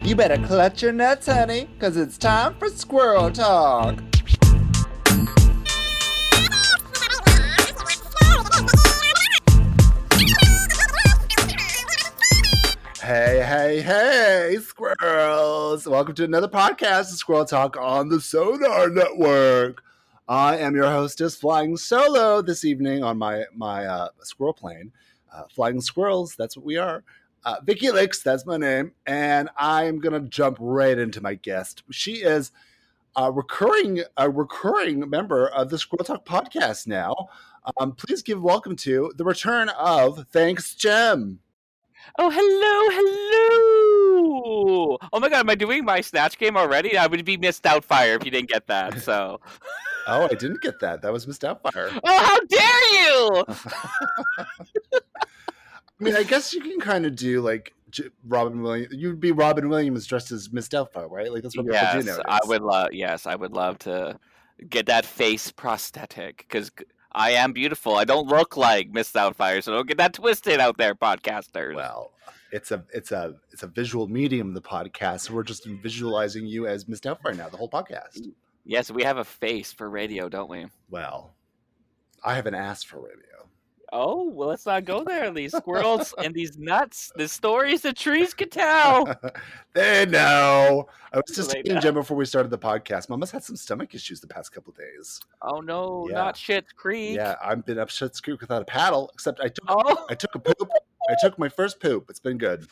You better clutch your nuts, honey, because it's time for squirrel talk. Hey, hey, hey, squirrels. Welcome to another podcast of Squirrel Talk on the Sonar Network. I am your hostess flying solo this evening on my my uh, squirrel plane. Uh, flying squirrels, that's what we are. Uh, Vicky Licks, that's my name. And I'm going to jump right into my guest. She is a recurring a recurring member of the Squirrel Talk podcast now. Um, please give welcome to the return of Thanks Jem. Oh, hello, hello. Oh my god, am I doing my Snatch game already? I would be Miss Doubtfire if you didn't get that, so. Oh, I didn't get that. That was Miss Doubtfire. Oh, how dare you! I mean, I guess you can kind of do like J- Robin Williams. You'd be Robin Williams dressed as Miss Doubtfire, right? Like that's what people do yes, know. I would love, yes, I would love to get that face prosthetic, because I am beautiful. I don't look like Miss Doubtfire, so don't get that twisted out there, podcasters. Well, it's a it's a it's a visual medium. The podcast. So we're just visualizing you as Miss Doubtfire now. The whole podcast. Yes, we have a face for radio, don't we? Well, I haven't asked for radio. Oh, well, let's not go there. These squirrels and these nuts, the stories the trees could tell. they know. I was just Oh. They telling know. Jen before we started the podcast. Mama's had some stomach issues the past couple days. Oh no, Yeah. not Shit's Creek. Yeah, I've been up shit's creek without a paddle. Except I took Oh, I took a poop. I took my first poop. It's been good.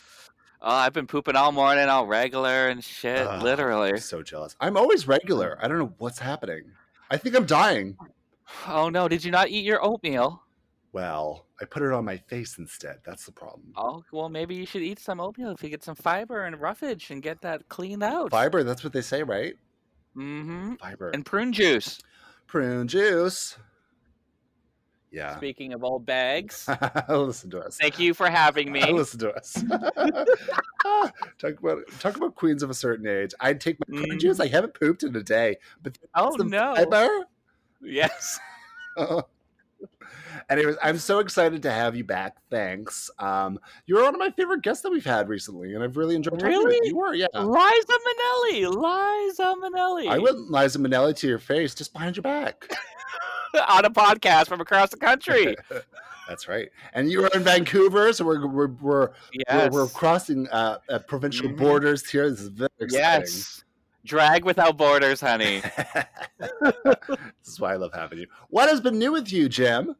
Oh, I've been pooping all morning, all regular and shit. Ugh. I'm literally. so jealous. I'm always regular. I don't know what's happening. I think I'm dying. Oh no, did you not eat your oatmeal? Well, I put it on my face instead. That's the problem. Oh well, maybe you should eat some oatmeal if you get some fiber and roughage and get that cleaned out. Fiber, that's what they say, right? Mm-hmm. Fiber. And prune juice. prune juice. Yeah. Speaking of old bags, listen to us. thank you for having me. Listen to us. Ah, talk about talk about queens of a certain age. I'd take my prune juice. I haven't pooped in a day, but Mm. Oh some no. fiber? Yes. Anyways, I'm so excited to have you back. Thanks. Um, you were one of my favorite guests that we've had recently, and I've really enjoyed talking with Really? you. You were, yeah. Liza Minnelli. Liza Minnelli. I went Liza Minnelli to your face, just behind your back. on a podcast from across the country. That's right. And you were in Vancouver, so we're we're we're, Yes. we're, we're crossing uh, uh, provincial Mhm. borders here. This is very exciting. yes. Drag without borders, honey. this is why I love having you. What has been new with you, Jim?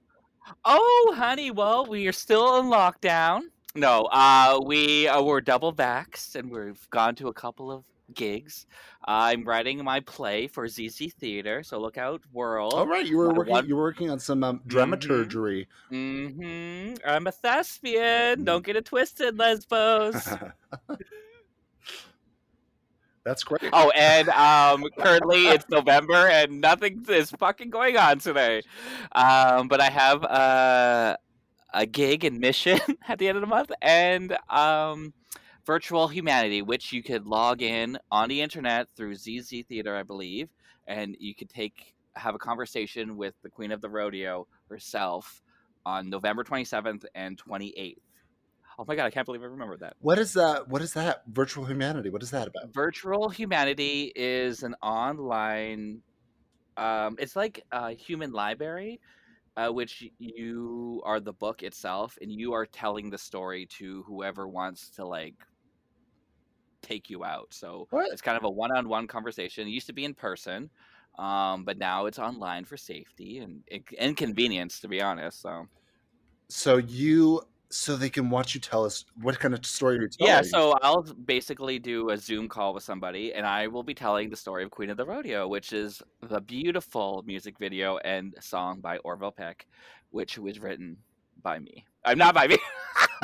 Oh, honey, well, we are still in lockdown. No, uh, we uh, were double vaxxed and we've gone to a couple of gigs. I'm writing my play for ZZ Theater, so look out, world. All right, you were my working. one- You were working on some um, Mhm. dramaturgery. hmm I'm a Mm-hmm. thespian. Don't get it twisted, lesbos. That's great. oh, and um, currently it's November and nothing is fucking going on today. Um, but I have uh, a gig in Mission at the end of the month and um, Virtual Humanity, which you could log in on the internet through ZZ Theater, I believe, and you could take have a conversation with the Queen of the Rodeo herself on November 27th and 28th. Oh my god, I can't believe I remembered that. What is that? What is that? Virtual humanity. What is that about? Virtual Humanity is an online. Um, it's like a human library, uh, which y- you are the book itself, and you are telling the story to whoever wants to like take you out. So What? it's kind of a one-on-one conversation. It used to be in person, um, but now it's online for safety and in- inconvenience, to be honest. So So you, so they can watch you tell us what kind of story you're telling. Yeah, so uh, I'll basically do a Zoom call with somebody, and I will be telling the story of Queen of the Rodeo, which is the beautiful music video and song by Orville Peck, which was written by me. I'm not by me,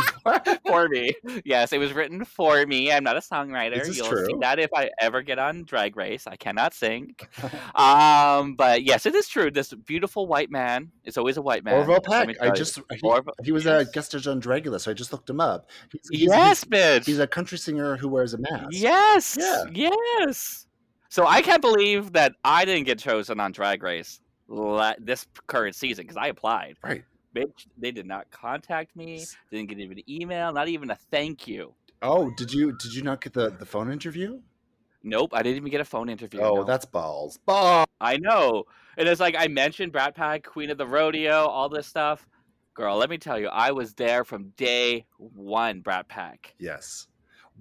for me. Yes, it was written for me. I'm not a songwriter. this You'll see true? that if I ever get on Drag Race. I cannot sing. um, but yes, it is true. This beautiful white man is always a white man. Orville let Peck. me I tell you. just he, Orville- he was a yes. guest judge on Dragula, so I just looked him up. He's, he's- Yes, bitch. he's, he's a country singer who wears a mask. Yes. Yeah. Yes. So I can't believe that I didn't get chosen on Drag Race la- this p- current season because I applied. Right. Bitch, they did not contact me. S- Didn't get even an email. Not even a thank you. Oh, did you did you not get the the phone interview? Nope, I didn't even get a phone interview. oh, no. that's balls. Balls. I know. And it's like I mentioned Brat Pack, Queen of the Rodeo, all this stuff. Girl, let me tell you, I was there from day one, Brat Pack. Yes.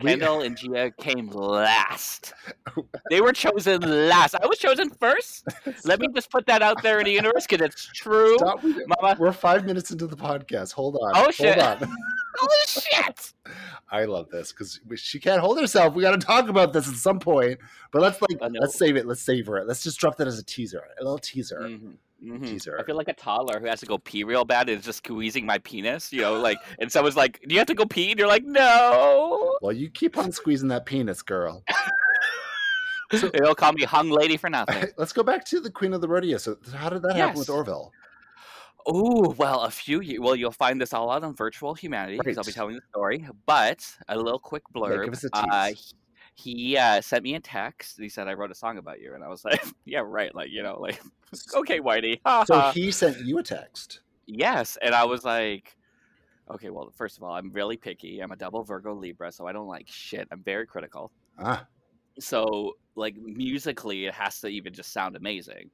We- Kendall and Gia came last. They were chosen last. I was chosen first. Let me just put that out there in the universe because it's true. Stop. We- Mama. We're five minutes into the podcast. Hold on. Oh, Hold shit. on. Oh, shit. I love this because she can't hold herself. We got to talk about this at some point. But let's like I know. let's save it. Let's savor it. Let's just drop that as a teaser, a little teaser. Mhm, mhm. Teaser. I feel like a toddler who has to go pee real bad and is just squeezing my penis, you know, like, and someone's like, Do you have to go pee? And you're like, No. Well, you keep on squeezing that penis, girl. They'll call me hung lady for nothing. Let's go back to the Queen of the Rodeo. So, how did that happen with Yes. Orville? Oh, well, a few years. Well, you'll find this all out on Virtual Humanity because I'll be Right. telling the story. But a little quick blurb. give us a Uh, tease. he he, uh, sent me a text. He said, I wrote a song about you. And I was like, Yeah, right. Like, you know, like, okay, Whitey. ha So ha." he sent you a text. yes. And I was like, Okay, well, first of all, I'm really picky. I'm a double Virgo Libra, so I don't like shit. I'm very critical. Ah, so like musically it has to even just sound amazing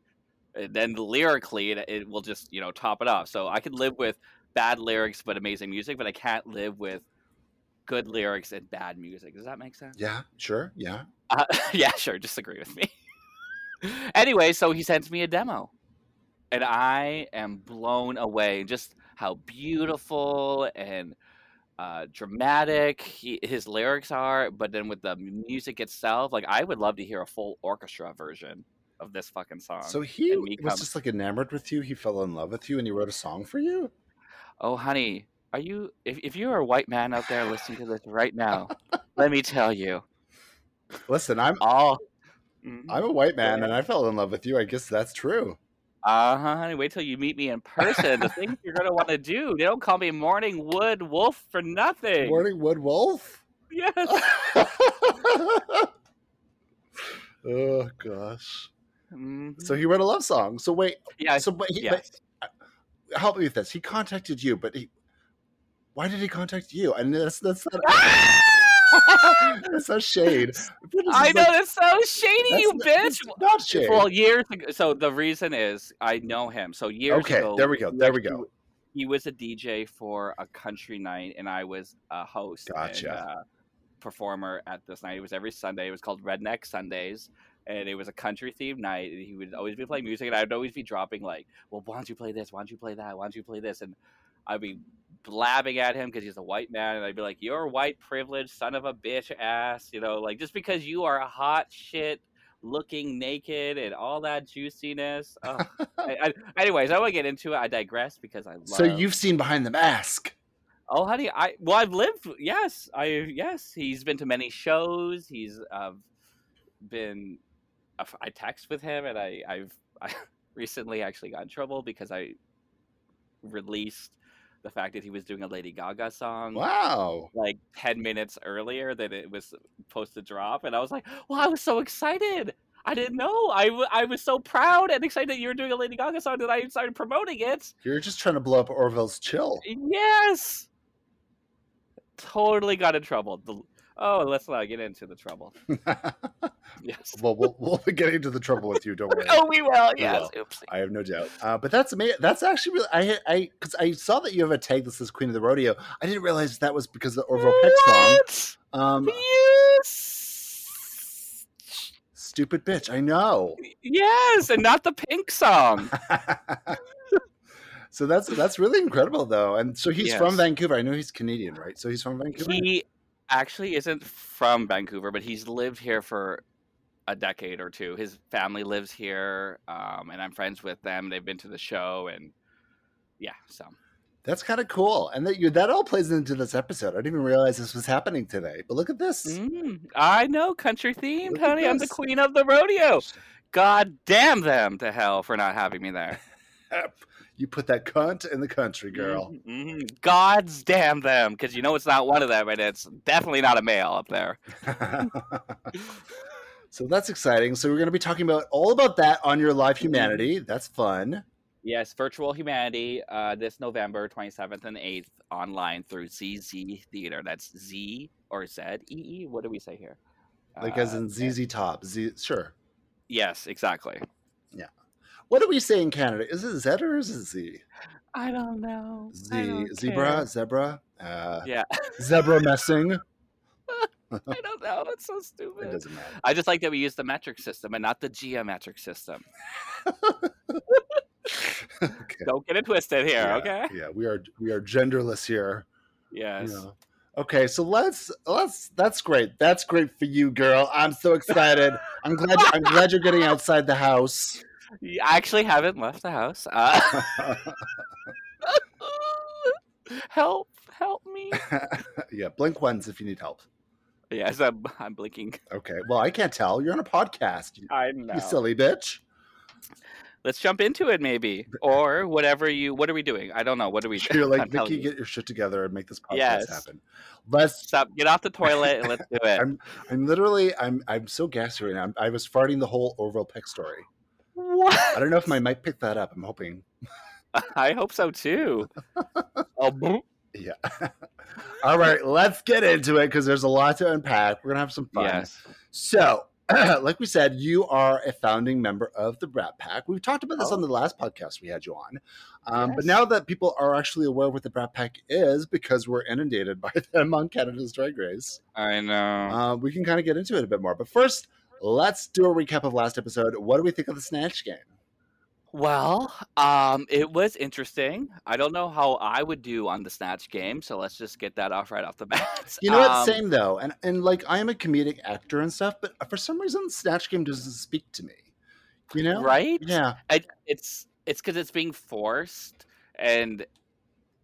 and then lyrically it, it will just you know top it off so i could live with bad lyrics but amazing music but i can't live with good lyrics and bad music does that make sense yeah, sure, yeah. uh, yeah sure disagree with me anyway so he sends me a demo and i am blown away just how beautiful and uh, dramatic he, his lyrics are but then with the music itself like i would love to hear a full orchestra version of this fucking song So he Uh, and me was come- just like enamored with you. He fell in love with you, and he wrote a song for you. oh honey are you if, if you're a white man out there listening to this right now let me tell you Listen, I'm all Mhm. I'm a white man, Yeah. and I fell in love with you. I guess that's true. Uh huh, honey. Wait till you meet me in person. The things you're gonna want to do. They don't call me Morning Wood Wolf for nothing. Morning Wood Wolf. Yes. oh gosh. Mhm. So he wrote a love song. So wait, yeah. so but he, Uh, yes. but help me with this. He contacted you, but he why did he contact you? And that's that's not that's not shade. I know that's so shady, That's you not- bitch. it's Not shade. Well, years ago. So the reason is I know him. So years okay, ago. there we go. he There we actually go. w- He was a DJ for a country night, and I was a host. and, Gotcha. uh, performer at this night. It was every Sunday. It was called Redneck Sundays. And it was a country themed night. And he would always be playing music, and I'd always be dropping like, "Well, why don't you play this? Why don't you play that? Why don't you play this?" And I'd be blabbing at him because he's a white man, and I'd be like, "You're a white privileged son of a bitch ass," you know, like just because you are a hot shit looking naked and all that juiciness. Ugh. I, I, anyways, I won't get into it. I digress because I love. So you've seen behind the mask. Oh, honey, I well, I've lived. Yes, I yes. He's been to many shows. He's uh, been. I've- I text with him, and I I've I recently actually got in trouble because I released the fact that he was doing a Lady Gaga song Wow. like ten minutes earlier than it was supposed to drop, and I was like, "Well, I was so excited." I didn't know. I, w- I was so proud and excited that you were doing a Lady Gaga song that I started promoting it. You're just trying to blow up Orville's chill. Yes. Totally got in trouble. The- oh, let's not get into the trouble. well, Yes. we'll we'll be getting into the trouble with you, don't worry. Oh, we will. We Yes. Oopsie. I have no doubt. Uh, but that's amazing. That's actually really. I I because I saw that you have a tag that says Queen of the Rodeo. I didn't realize that was because of the Orville Peck song. What? Um, Yes. stupid bitch. I know. Yes, and not the pink song. so that's that's really incredible though. And so he's from Yes. Vancouver. I know he's Canadian, right? So he's from Vancouver. he actually isn't from Vancouver, but he's lived here for a decade or two. His family lives here, um, and I'm friends with them. They've been to the show, and yeah, so that's kind of cool. And that you that all plays into this episode. I didn't even realize this was happening today. But look at this. Mm, I know, country themed, Look at honey. I'm the this. queen of the rodeo. God damn them to hell for not having me there. Mm. You put that cunt in the country, girl. Mhm, mhm. God's damn them, because you know it's not one of them, and it's definitely not a male up there. so that's exciting. So we're going to be talking about all about that on your live humanity. That's fun. Yes, virtual humanity uh, this November 27th and 8th online through ZZ Theater. That's Z or Z E E. What do we say here? Like as Uh, in ZZ Top. Z, sure. yes, exactly. What do we say in Canada? Is it Z or is it Z? I don't know. I Z don't zebra zebra. Uh, care. Yeah, Zebra messing. I don't know. It's so It stupid. doesn't matter. I just like that we use the metric system and not the geometric system. okay. Don't get it twisted here, yeah, okay? Yeah, we are we are genderless here. Yes. Yeah. Okay, so let's let's that's great. That's great for you, girl. I'm so excited. I'm glad I'm glad you're getting outside the house. Yeah, I actually haven't left the house. Uh, help! Help me! yeah, blink once if you need help. Yes, I'm, I'm blinking. Okay. Well, I can't tell. You're on a podcast. You, I know. you silly bitch. Let's jump into it, maybe, or whatever you. What are we doing? I don't know. What are we? You're I'm like, telling Nikki, you. get your shit together and make this podcast Yes. happen. Let's Stop. Get off the toilet and let's do it. I'm literally I'm I'm so gassy right now. I'm, I was farting the whole Orville Peck story. what? I don't know if my mic picked that up. I'm hoping. I hope so too. oh, boom. Yeah. All right, let's get into it because there's a lot to unpack. We're gonna have some fun. yes. So, like we said, you are a founding member of the Brat Pack. We've talked about this Oh. on the last podcast we had you on. Um, But Yes. now that people are actually aware of what the Brat Pack is, because we're inundated by them on Canada's Drag Race, I know. uh, we can kind of get into it a bit more. But first, let's do a recap of last episode. What do we think of the Snatch game? Well, um, it was interesting. I don't know how I would do on the snatch game, so let's just get that off right off the bat. You know what? Um, Same though. And and like I am a comedic actor and stuff, but for some reason, Snatch Game doesn't speak to me. You know? Um, right? Yeah. I, it's it's because it's being forced, and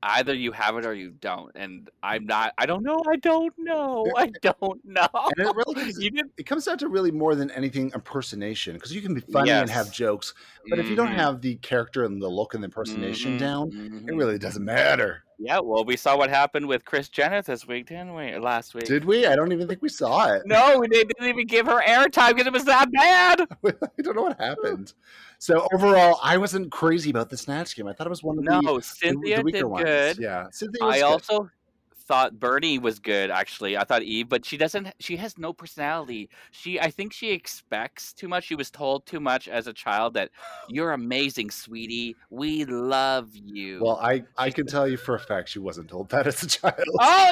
either you have it or you don't. And I'm not. I don't know. I don't know. I don't know. And it really comes, You did. it comes down to really more than anything impersonation because you can be funny and Yes. have jokes, but if you don't Mhm, have the character and the look and the impersonation mhm, down, mhm. it really doesn't matter. Yeah. Well, we saw what happened with Chris Jenner this week, didn't we? Or last week. Did we? I don't even think we saw it. no, they didn't even give her airtime because it was that bad. I don't know what happened. So overall, I wasn't crazy about the snatch game. I thought it was one of the- the, No, Cynthia weaker did ones. good. Yeah, Cynthia. Was I good. also thought Bernie was good actually. I thought Eve, but she doesn't she has no personality. She I think she expects too much. She was told too much as a child that you're amazing, sweetie. We love you. Well, I I can tell you for a fact she wasn't told that as a child. Oh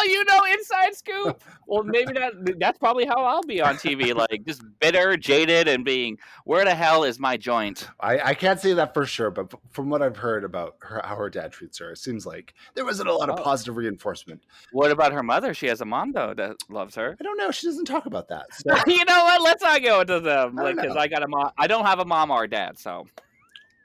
no, you know inside scoop. Well, maybe that that's probably how I'll be on TV like just bitter, jaded and being where the hell is my joint? I, I can't say that for sure, but f- from what I've heard about her, how her dad treats her, it seems like there wasn't a lot of Oh. positive reinforcement. What about her mother? She has a mom though that loves her. I don't know. She doesn't talk about that. So you know what? Let's not go into them I don't because know. I got a mom. I don't have a mom or a dad, so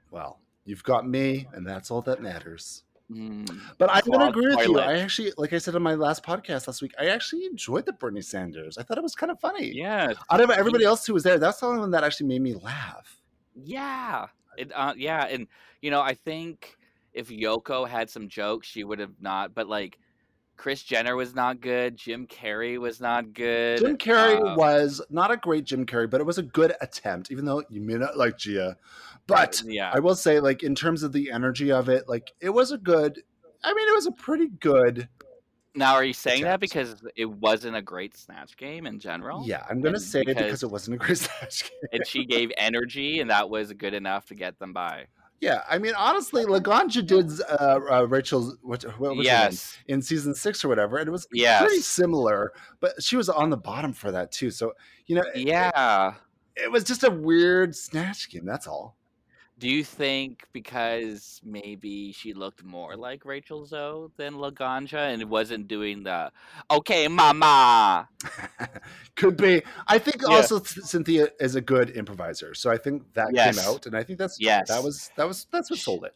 well, you've got me, and that's all that matters. mm, But I'm gonna Clogged agree with you. toilet. I actually, like I said on my last podcast last week, I actually enjoyed the Bernie Sanders. I thought it was kind of funny. yeah, Out of everybody else who was there, that's the only one that actually made me laugh. yeah, it, uh, yeah, and you know, I think if Yoko had some jokes, she would have not. But like, Chris Jenner was not good. Jim Carrey was not good. Jim Carrey uh, was not a great Jim Carrey, but it was a good attempt, even though you may not like Gia. But yeah, I will say, like in terms of the energy of it, like it was a good. I mean, it was a pretty good. now are you saying that attempt. because it wasn't a great snatch game in general? Yeah, I'm gonna And say it because because- it wasn't a great snatch game. and she gave energy, and that was good enough to get them by. Yeah, I mean, honestly, Laganja did uh, uh, Rachel's what, what was her name? yes, in season six or whatever, and it was pretty Yes. similar. But she was on the bottom for that too, so you know, it, yeah. it was just a weird snatch game. That's all. Do you think because maybe she looked more like Rachel Zoe than Laganja and wasn't doing the okay, mama? Could be. I think Yeah. also Cy- Cynthia is a good improviser, so I think that Yes. came out, and I think that's Yes. that was that was that's what Sh- sold it.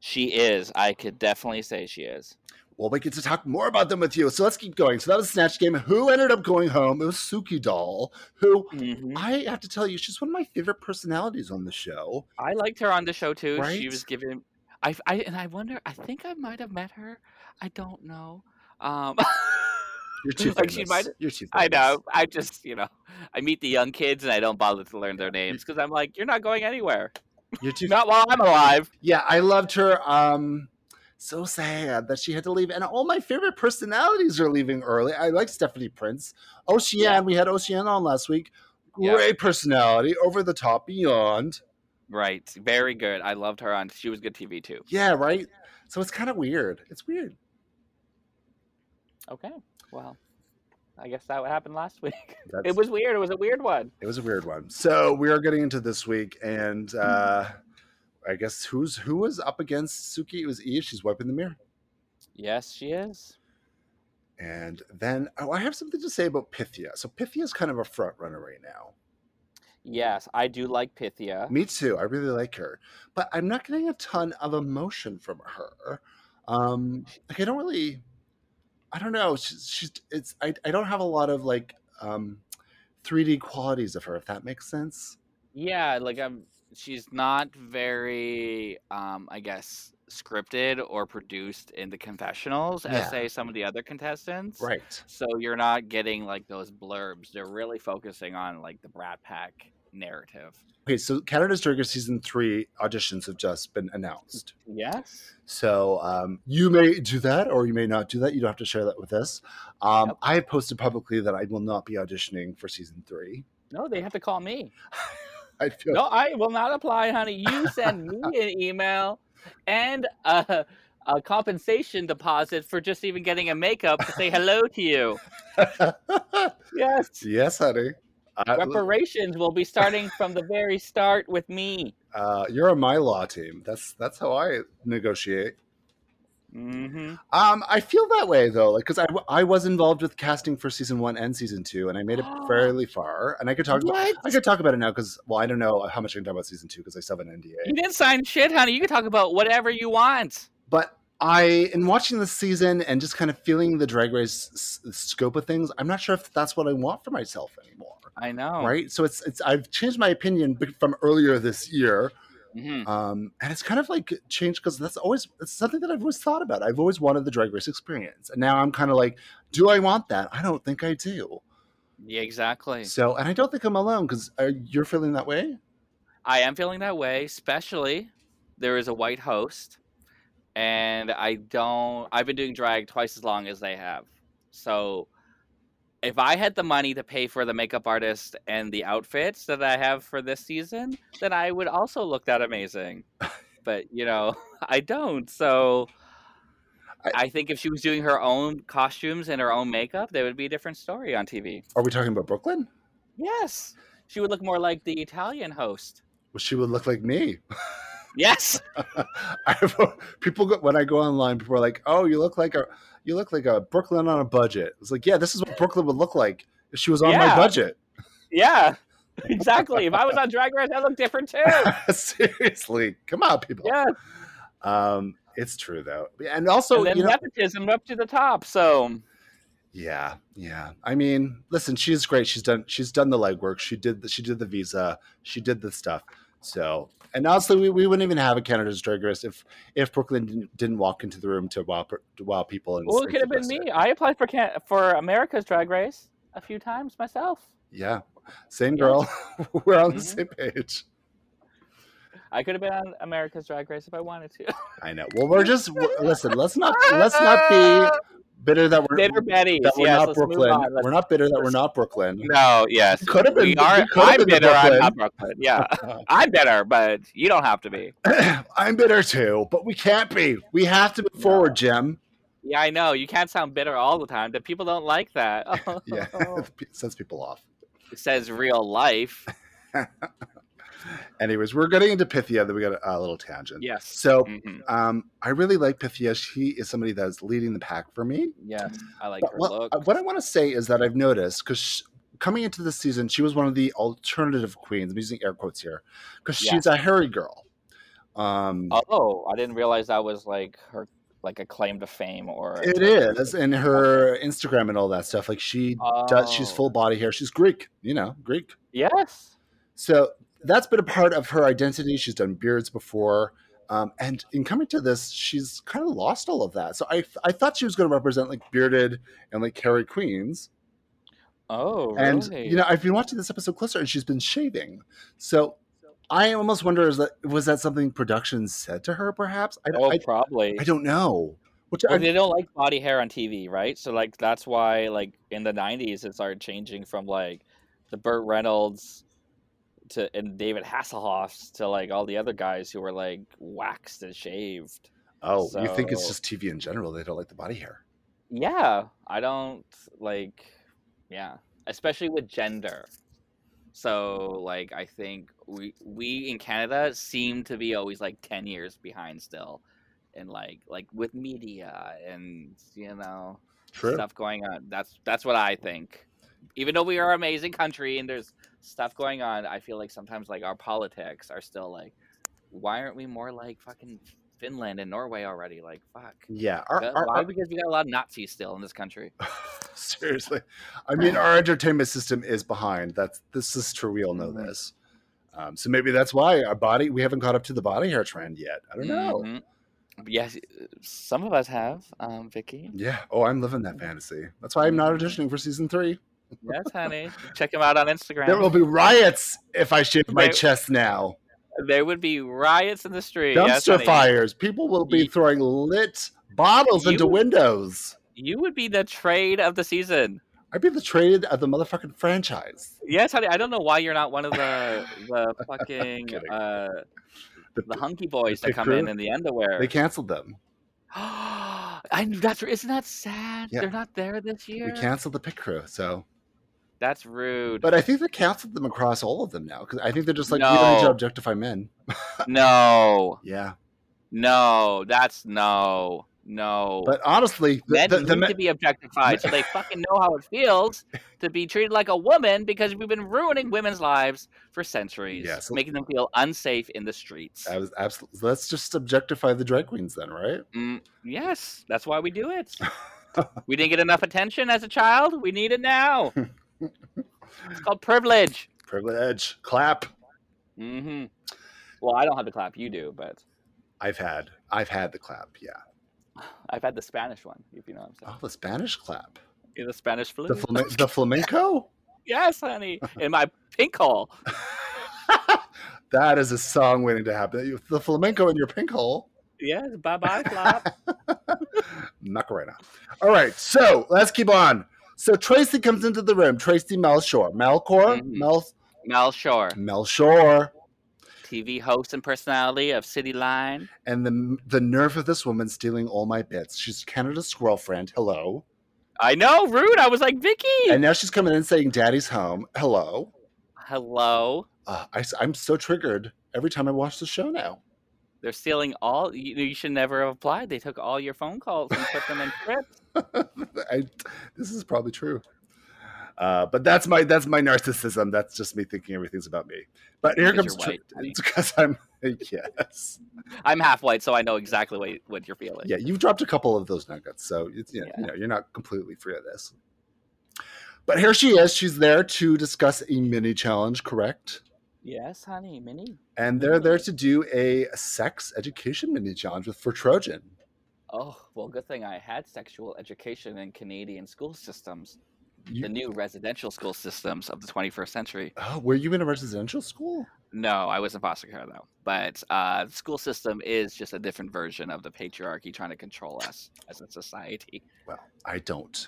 She is. I could definitely say she is. Well, we get to talk more about them with you. So let's keep going. So that was Snatch Game. Who ended up going home? It was Suki Doll, who Mhm. I have to tell you, she's one of my favorite personalities on the show. I liked her on the show too. She Right? was giving. I, f- I- and I wonder. I think I might have met her. I don't know. Um, You're too Like, famous. she might- You're too famous. I know. I just you know. I meet the young kids and I don't bother to learn their names because I'm like, you're not going anywhere. You're too. Not while I'm alive. Yeah, I loved her. Um, so sad that she had to leave. And all my favorite personalities are leaving early. I like Stephanie Prince. Ocean, Yeah. we had Ocean on last week. Yeah. Great personality, over the top, beyond. Right. Very good. I loved her on. She was good TV too. Yeah, right? So it's kind of weird. It's weird. Okay. Well, I guess that what happened last week. That's- It was weird. It was a weird one. It was a weird one. So we are getting into this week, and uh, I guess who's who was up against Suki? It was Eve. She's wiping the mirror, Yes, she is. and then oh, I have something to say about Pythia. So Pythia's kind of a front runner right now. Yes, I do like Pythia. Me too. I really like her, but I'm not getting a ton of emotion from her. Um, like I don't really, I don't know. She's, she's it's I I don't have a lot of like um, 3D qualities of her. If that makes sense. Yeah, like I'm. She's not very, um, I guess, scripted or produced in the confessionals Yeah. as say some of the other contestants. Right. So you're not getting like those blurbs. They're really focusing on like the Brat Pack narrative. Okay, so Canada's Dragger season three auditions have just been announced. Yes. So um, you may do that, or you may not do that. You don't have to share that with us. Um, Yep. I have posted publicly that I will not be auditioning for season three. No, they have to call me. I feel No, I will not apply, honey. You send me an email and a, a compensation deposit for just even getting a makeup to say hello to you. Yes. yes, honey. I, Reparations will be starting from the very start with me. uh, you're on my law team. That's that's how I negotiate. hmm Um, I feel that way though, like because I, w- I was involved with casting for season one and season two, and I made it fairly far. And I could talk about What? I could talk about it now because well, I don't know how much I can talk about season two because I still have an NDA. You didn't sign shit, honey. You can talk about whatever you want. but I, in watching this season and just kind of feeling the drag race s- s- scope of things, I'm not sure if that's what I want for myself anymore. I know. Right. So it's, it's, I've changed my opinion b- from earlier this year. hmm Um, and it's kind of like changed because that's always, it's something that I've always thought about. I've always wanted the drag race experience. And now I'm kind of like, do I want that? I don't think I do. Yeah, exactly. So, and I don't think I'm alone because uh, you're feeling that way. I am feeling that way, especially there is a white host, and I don't. I've been doing drag twice as long as they have. So, if I had the money to pay for the makeup artist and the outfits that I have for this season, then I would also look that amazing. But you know, I don't. So, I- I think if she was doing her own costumes and her own makeup, there would be a different story on TV. Are we talking about Brooklyn? Yes, she would look more like the Italian host. Well, she would look like me. Yes. I've, people go, when I go online, people are like, "Oh, you look like a you look like a Brooklyn on a budget." It's like, yeah, this is what Brooklyn would look like if she was on my Yeah. budget. Yeah, exactly. if I was on Drag Race, I'd look different too. Seriously, come on, people. Yeah, Um, it's true though, and also and then you know, nepotism up to the top. So yeah, yeah. I mean, listen, she's great. She's done she's done the legwork. She did the, she did the visa. She did the stuff. So, and honestly, we, we wouldn't even have a Canada's Drag Race if if Brooklyn didn't, didn't walk into the room to wow, per- to wow people. And well, it say could have been "That's me. I applied for Can- for America's Drag Race a few times myself. Yeah. Same Yeah. girl. We're on the Mhm. same page. I could have been on America's Drag Race if I wanted to. I know. Well, we're just w- listen, let's not let's not be bitter that we're bitter Betty. that we're yes, not let's Brooklyn. Move on. Let's- We're not bitter that we're let's- not Brooklyn. No, yes, We could have been- We are. we could have I'm been to bitter. I'm Brooklyn. not Brooklyn. Yeah, I'm bitter, but you don't have to be. I'm bitter too, but we can't be. We have to move No. forward, Jim. Yeah, I know. You can't sound bitter all the time. The people don't like that. Yeah. It Sends people off. It says real life. Anyways, we're getting into Pythia, then we got a, a little tangent. Yes. So Mhm. um, I really like Pythia. She is somebody that is leading the pack for me. Yes, I like But her what, look. uh, what I want to say is that I've noticed because coming into this season, she was one of the alternative queens. I'm using air quotes here because Yeah. she's a hairy girl. Um, Oh, I didn't realize that was like her like a claim to fame or it is in her Instagram and all that stuff. Like she does, she's Oh. full body hair. She's Greek, you know, Greek. Yes. So that's been a part of her identity. She's done beards before. Um, and in coming to this, she's kind of lost all of that. So I, I thought she was going to represent like bearded and like hairy queens. Oh, And really? you know, I've been watching this episode closer, and she's been shaving. So I almost wonder is that was that something production said to her? Perhaps I, Oh, I, probably. I don't know. Which Well, I, they don't like body hair on TV, right? So like that's why like in the '90s it started changing from like the Burt Reynolds to and David Hasselhoffs to like all the other guys who were like waxed and shaved. oh, you think it's so- just TV in general? They don't like the body hair. Yeah, I don't like. Yeah, especially with gender. So like I think we we in Canada seem to be always like ten years behind still, and like like with media and you know stuff going on. That's that's what I think. Even though we are an amazing country and there's stuff going on, I feel like sometimes like our politics are still like, why aren't we more like fucking Finland and Norway already? Like fuck. Yeah. Our, Good- our, Why? our- because we got a lot of Nazis still in this country. seriously, I mean, our entertainment system is behind. That's this is true. We all know Mhm. this. Um, so maybe that's why our body we haven't caught up to the body hair trend yet. I don't know. Mhm. Yes, some of us have, um, Vicky. Yeah. Oh, I'm living that fantasy. That's why I'm not Mm-hmm. auditioning for season three. Yes, honey. Check them out on Instagram. There will be riots if I shave my Right. chest now. There would be riots in the street. yes, Dumpster honey. fires. People will be Ye- throwing lit bottles You- into windows. You would be the trade of the season. I'd be the trade of the motherfucking franchise. Yes, honey. I don't know why you're not one of the the fucking Kidding. uh, The- the hunky boys that pit come crew? in in the underwear. They canceled them. I that's isn't that sad? Yeah. They're not there this year. We canceled the pit crew. So, That's rude. but I think they canceled them across all of them now because I think they're just like we don't need to No. objectify men. uh, no, Yeah, no, that's no, no. but honestly, the, men the, the need men- to be objectified so they fucking know how it feels to be treated like a woman because we've been ruining women's lives for centuries, Yes. making them feel unsafe in the streets. I was absolutely. Let's just objectify the drag queens then, right? Mm, yes, that's why we do it. we didn't get enough attention as a child. We need it now. it's called privilege. Privilege. Clap. hmm Well, I don't have the clap. You do, but I've had. I've had the clap. Yeah. I've had the Spanish one, if you know what I'm Oh, saying. the Spanish clap. Yeah, The Spanish flu. Oh. The, flamen- the flamenco. yes, honey. In my pink hole. that is a song waiting to happen. The flamenco in your pink hole, Yes, bye bye, flop. Macarena. All right, so let's keep on. So Tracy comes into the room. Tracy Melchor, Melchor, Mhm. Mel, Mel Shore. Melchor, TV host and personality of City Line. and the the nerve of this woman stealing all my bits. She's Canada's girlfriend. Hello, I know, rude. I was like, Vicky. and now she's coming in saying, "Daddy's home." Hello. Hello. Uh, I, am so triggered every time I watch the show now. They're stealing all. You, you should never have applied. They took all your phone calls and put them in scripts. I, this is probably true. Uh, but that's my that's my narcissism. That's just me thinking everything's about me. But here comes Because you're Tr- white, honey. it's because I'm yes I'm half white, so I know exactly what, what you're feeling. yeah. You've dropped a couple of those nuggets, so it's, you, know, you Yeah. know you're not completely free of this. But here she is. She's there to discuss a mini challenge, correct? Yes, honey, Minnie. And they're there to do a sex education mini challenge with for Trojan. Oh, well, good thing I had sexual education in Canadian school systems, the You, new residential school systems of the 21st century. oh, were you in a residential school? No, I was in foster care though. But uh, the school system is just a different version of the patriarchy trying to control us as a society. Well, I don't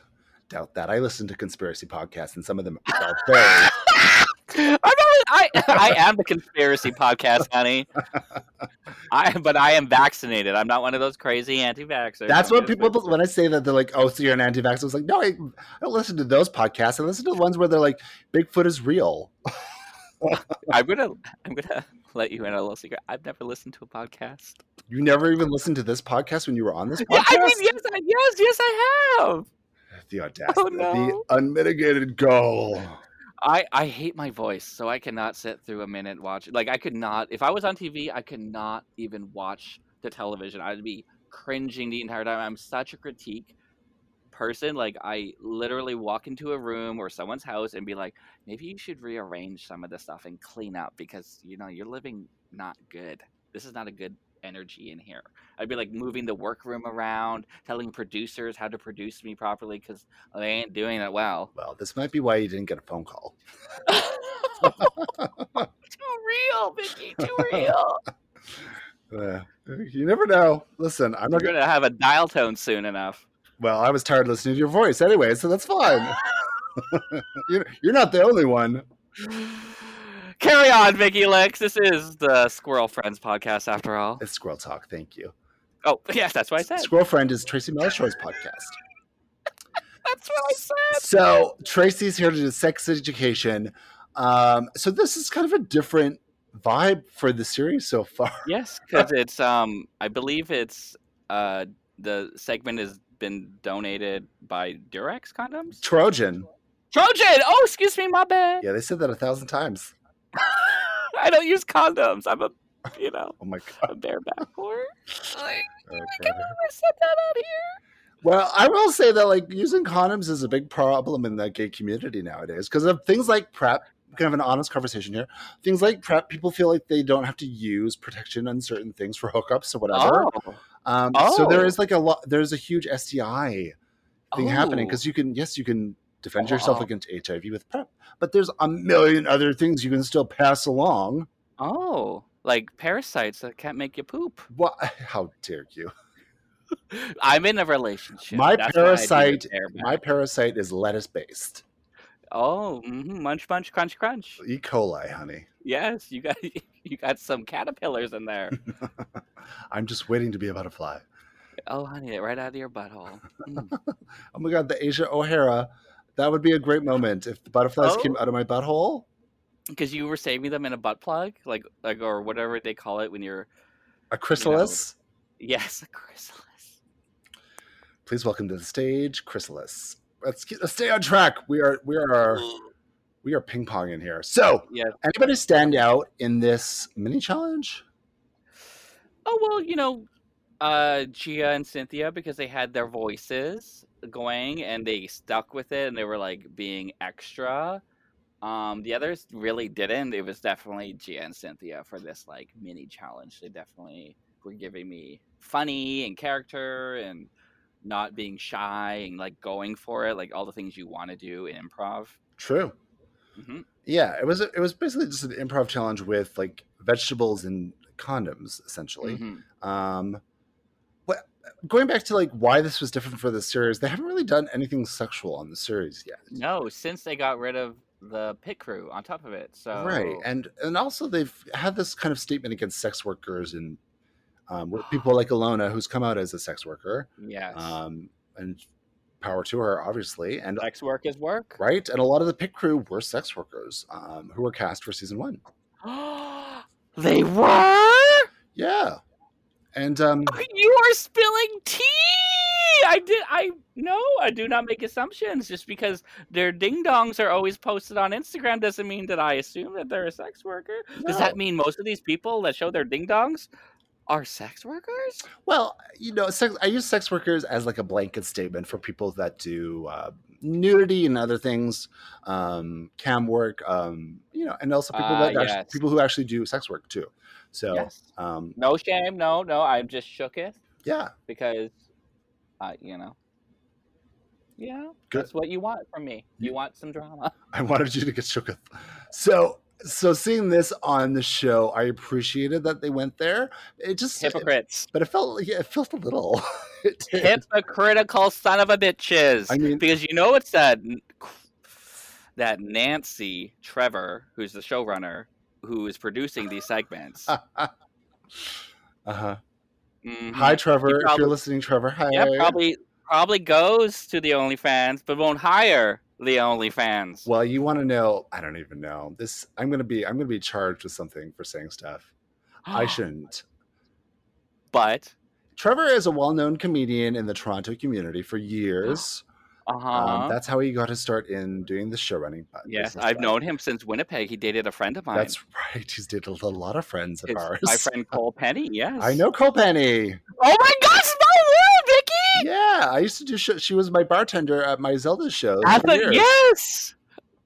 doubt that. I listen to conspiracy podcasts, and some of them are very I'm not, I, I am the conspiracy podcast, honey. I but I am vaccinated. I'm not one of those crazy anti-vaxxers. That's I'm what just- people when I say that they're like, "Oh, so you're an anti-vax." I was like, "No, I, I don't listen to those podcasts. I listen to the ones where they're like, Bigfoot is real." I'm gonna I'm gonna let you in on a little secret. I've never listened to a podcast. You never even listened to this podcast when you were on this podcast. Yeah, I mean, yes, I, yes, yes, I have. the audacity, Oh, no. the unmitigated goal. I I hate my voice, so I cannot sit through a minute watch. Like I could not. If I was on TV, I could not even watch the television. I'd be cringing the entire time. I'm such a critique person. Like I literally walk into a room or someone's house and be like, maybe you should rearrange some of the stuff and clean up because you know you're living not good. This is not a good energy in here. I'd be like moving the workroom around, telling producers how to produce me properly because they ain't doing it well. Well, this might be why you didn't get a phone call. too real. real, Vicky. Too real. Uh, you never know. Listen, I'm We're not. gonna have a dial tone soon enough. Well, I was tired listening to your voice anyway, so that's fine. you're, you're not the only one. Carry on, Vicky Lex. This is the Squirrel Friends podcast, after all. It's Squirrel Talk. Thank you. Oh, yes, that's what I said. Squirrel Friend is Tracy Melshaw's podcast. That's what I said. so Tracy's here to do sex education. Um, so this is kind of a different vibe for the series so far. Yes, because it's um, I believe it's uh, the segment has been donated by Durex condoms. Trojan. Trojan. Oh, excuse me, my bad. Yeah, they said that a thousand times. I don't use condoms. I'm a, you know, Oh my a bareback whore. Like, god. can we ever set that out here? Well, I will say that like using condoms is a big problem in the gay community nowadays because of things like prep. We can have an honest conversation here. Things like prep, people feel like they don't have to use protection on certain things for hookups or whatever. Oh, Um, So there Oh. is like a lot. There's a huge STI thing happening Oh. because you can yes you can defend Oh, yourself wow. against HIV with prep, but there's a million other things you can still pass along. oh, like parasites that can't make you poop. What? How dare you? I'm in a relationship. My That's why I do the parasite- bareback. My parasite is lettuce based. Oh, mhm, munch, munch, crunch, crunch. E. coli, honey. Yes, you got you got some caterpillars in there. I'm just waiting to be a butterfly. Oh, honey, right out of your butthole. Mm. Oh my god, the Asia O'Hara. That would be a great moment if the butterflies Oh. came out of my butthole. Because you were saving them in a butt plug, like like or whatever they call it when you're A chrysalis. yes, a chrysalis. Please welcome to the stage, chrysalis. Let's, get, let's stay on track. We are we are we are ping ponging here. So, Yes. anybody stand out in this mini challenge? Oh well, you know, uh, Gia and Cynthia because they had their voices going and they stuck with it and they were like being extra. Um, the others really didn't. It was definitely Gia and Cynthia for this like mini challenge. They definitely were giving me funny and character and not being shy and like going for it, like all the things you want to do in improv. True. Mhm. Yeah, it was it was basically just an improv challenge with like vegetables and condoms essentially. Mhm. Um, what, going back to like why this was different for the series, they haven't really done anything sexual on the series yet, No, since they got rid of the pit crew on top of it, so right? And and also they've had this kind of statement against sex workers and um, with people like Alona, who's come out as a sex worker, yes. um, and power to her, obviously, and Sex work is work. right, and a lot of the pit crew were sex workers um, who were cast for season one. they were. Yeah, and um, You are spilling tea. I did. I no. I do not make assumptions. Just because their ding dongs are always posted on Instagram doesn't mean that I assume that they're a sex worker. no. Does that mean most of these people that show their ding dongs are sex workers? Well, you know, sex, I use sex workers as like a blanket statement for people that do uh, nudity and other things, um, cam work, um, you know, and also people Ah, that actu- yes. people who actually do sex work too. So, Yes. um, No shame. No. No. I'm just shooketh yeah, because, I you know. Yeah, Good. that's what you want from me. You want some drama. I wanted you to get shook up. So, so seeing this on the show, I appreciated that they went there. It just, Hypocrites. but it felt, yeah, it felt a little. it did. hypocritical son of a bitches. I mean- because you know it's that that Nancy Trevor, who's the showrunner, who is producing these segments. uh-huh. Mhm. Hi, Trevor. if you're probably- listening, Trevor. Hi. Yeah, probably probably goes to the OnlyFans, but won't hire the OnlyFans. Well, you want to know? I don't even know. This I'm gonna be I'm gonna be charged with something for saying stuff I shouldn't. But Trevor is a well-known comedian in the Toronto community for years. uh huh. Um, that's how he got his start in doing the show running. bu- yes, business I've stuff. known him since Winnipeg. He dated a friend of mine. That's right. He's dated a lot of friends of His- ours. my friend Cole Penny. Yes, I know Copenny. Oh my gosh, no way, Vicky. Yeah, I used to do. Show, she was my bartender at my Zelda shows. I for thought- years. yes,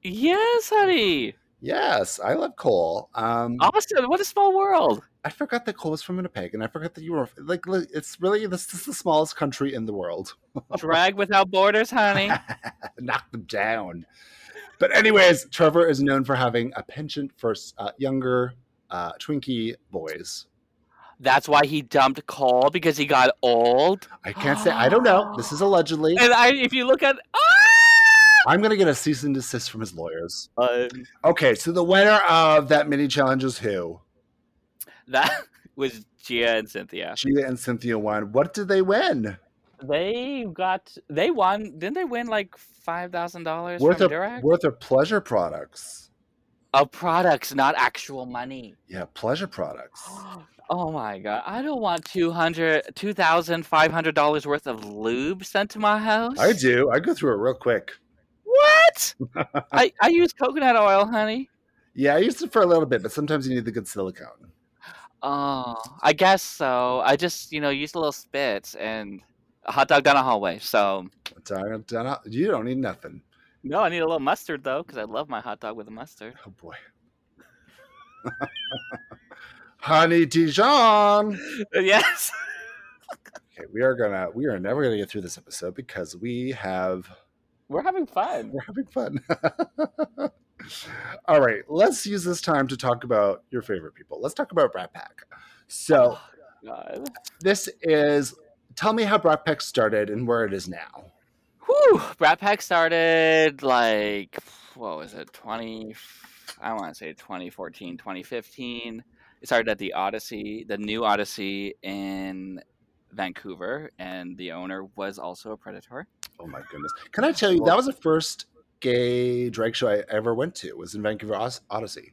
yes, honey. Yes, I love Cole. Um, Austin, what a small world. I forgot that Cole was from Winnipeg, and I forgot that you were like. look, It's really this is the smallest country in the world. Drag without borders, honey. knock them down. But anyways, Trevor is known for having a penchant for uh, younger uh, Twinkie boys. That's why he dumped Cole because he got old. I can't say. I don't know. This is allegedly. And I, if you look at, ah! I'm going to get a cease and desist from his lawyers. Ah! Okay, so the winner of that mini challenge is who? that was Gia and Cynthia. Gia and Cynthia won. What did they win? They got, they won. Didn't they win like five thousand dollars from Worth of Durac? worth of pleasure products. Of products, not actual money. Yeah, pleasure products. Oh my god! I don't want two hundred, two thousand five hundred dollars worth of lube sent to my house. I do. I go through it real quick. What? I I use coconut oil, honey. Yeah, I used it for a little bit, but sometimes you need the good silicone. Oh, I guess so. I just, you know, used a little spit and a hot dog down a hallway. So, Dun- dun- uh, You don't need nothing. no, I need a little mustard though, because I love my hot dog with a mustard. Oh boy. Honey Dijon. yes. Okay, we are gonna we are never gonna get through this episode because we have We're having fun. we're having fun. All right, let's use this time to talk about your favorite people. Let's talk about Brat Pack. So God. this is tell me how Brat Pack started and where it is now. Whew. Brat Pack started like, what was it, 20, I want to say 2014, 2015. It started at the Odyssey, the new Odyssey in Vancouver, and the owner was also a predator. Oh my goodness! Can I tell you that was the first gay drag show I ever went to? Was in Vancouver Os- Odyssey.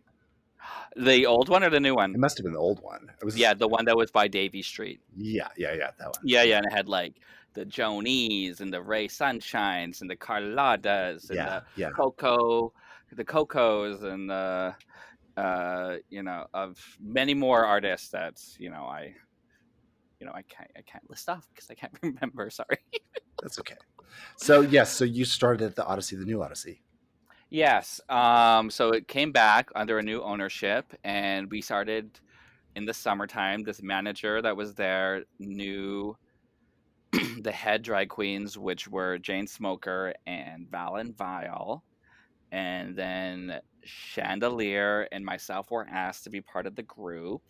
The old one or the new one? It must have been the old one. It was Mm-hmm. Yeah, the one that was by Davy Street. yeah, yeah, yeah. That one. Yeah, yeah, and it had like the Jonies and the Ray Sunshines and the Carladas and Yeah, yeah. the Coco, the Cocos and the uh, you know of many more artists that you know I you know I can't I can't list off because I can't remember. Sorry. That's okay. So yes, so you started at the Odyssey, the new Odyssey. Yes. Um, so it came back under a new ownership, and we started in the summertime. This manager that was there knew the head drag queens, which were Jane Smoker and Valen Vial. And then Chandelier and myself were asked to be part of the group.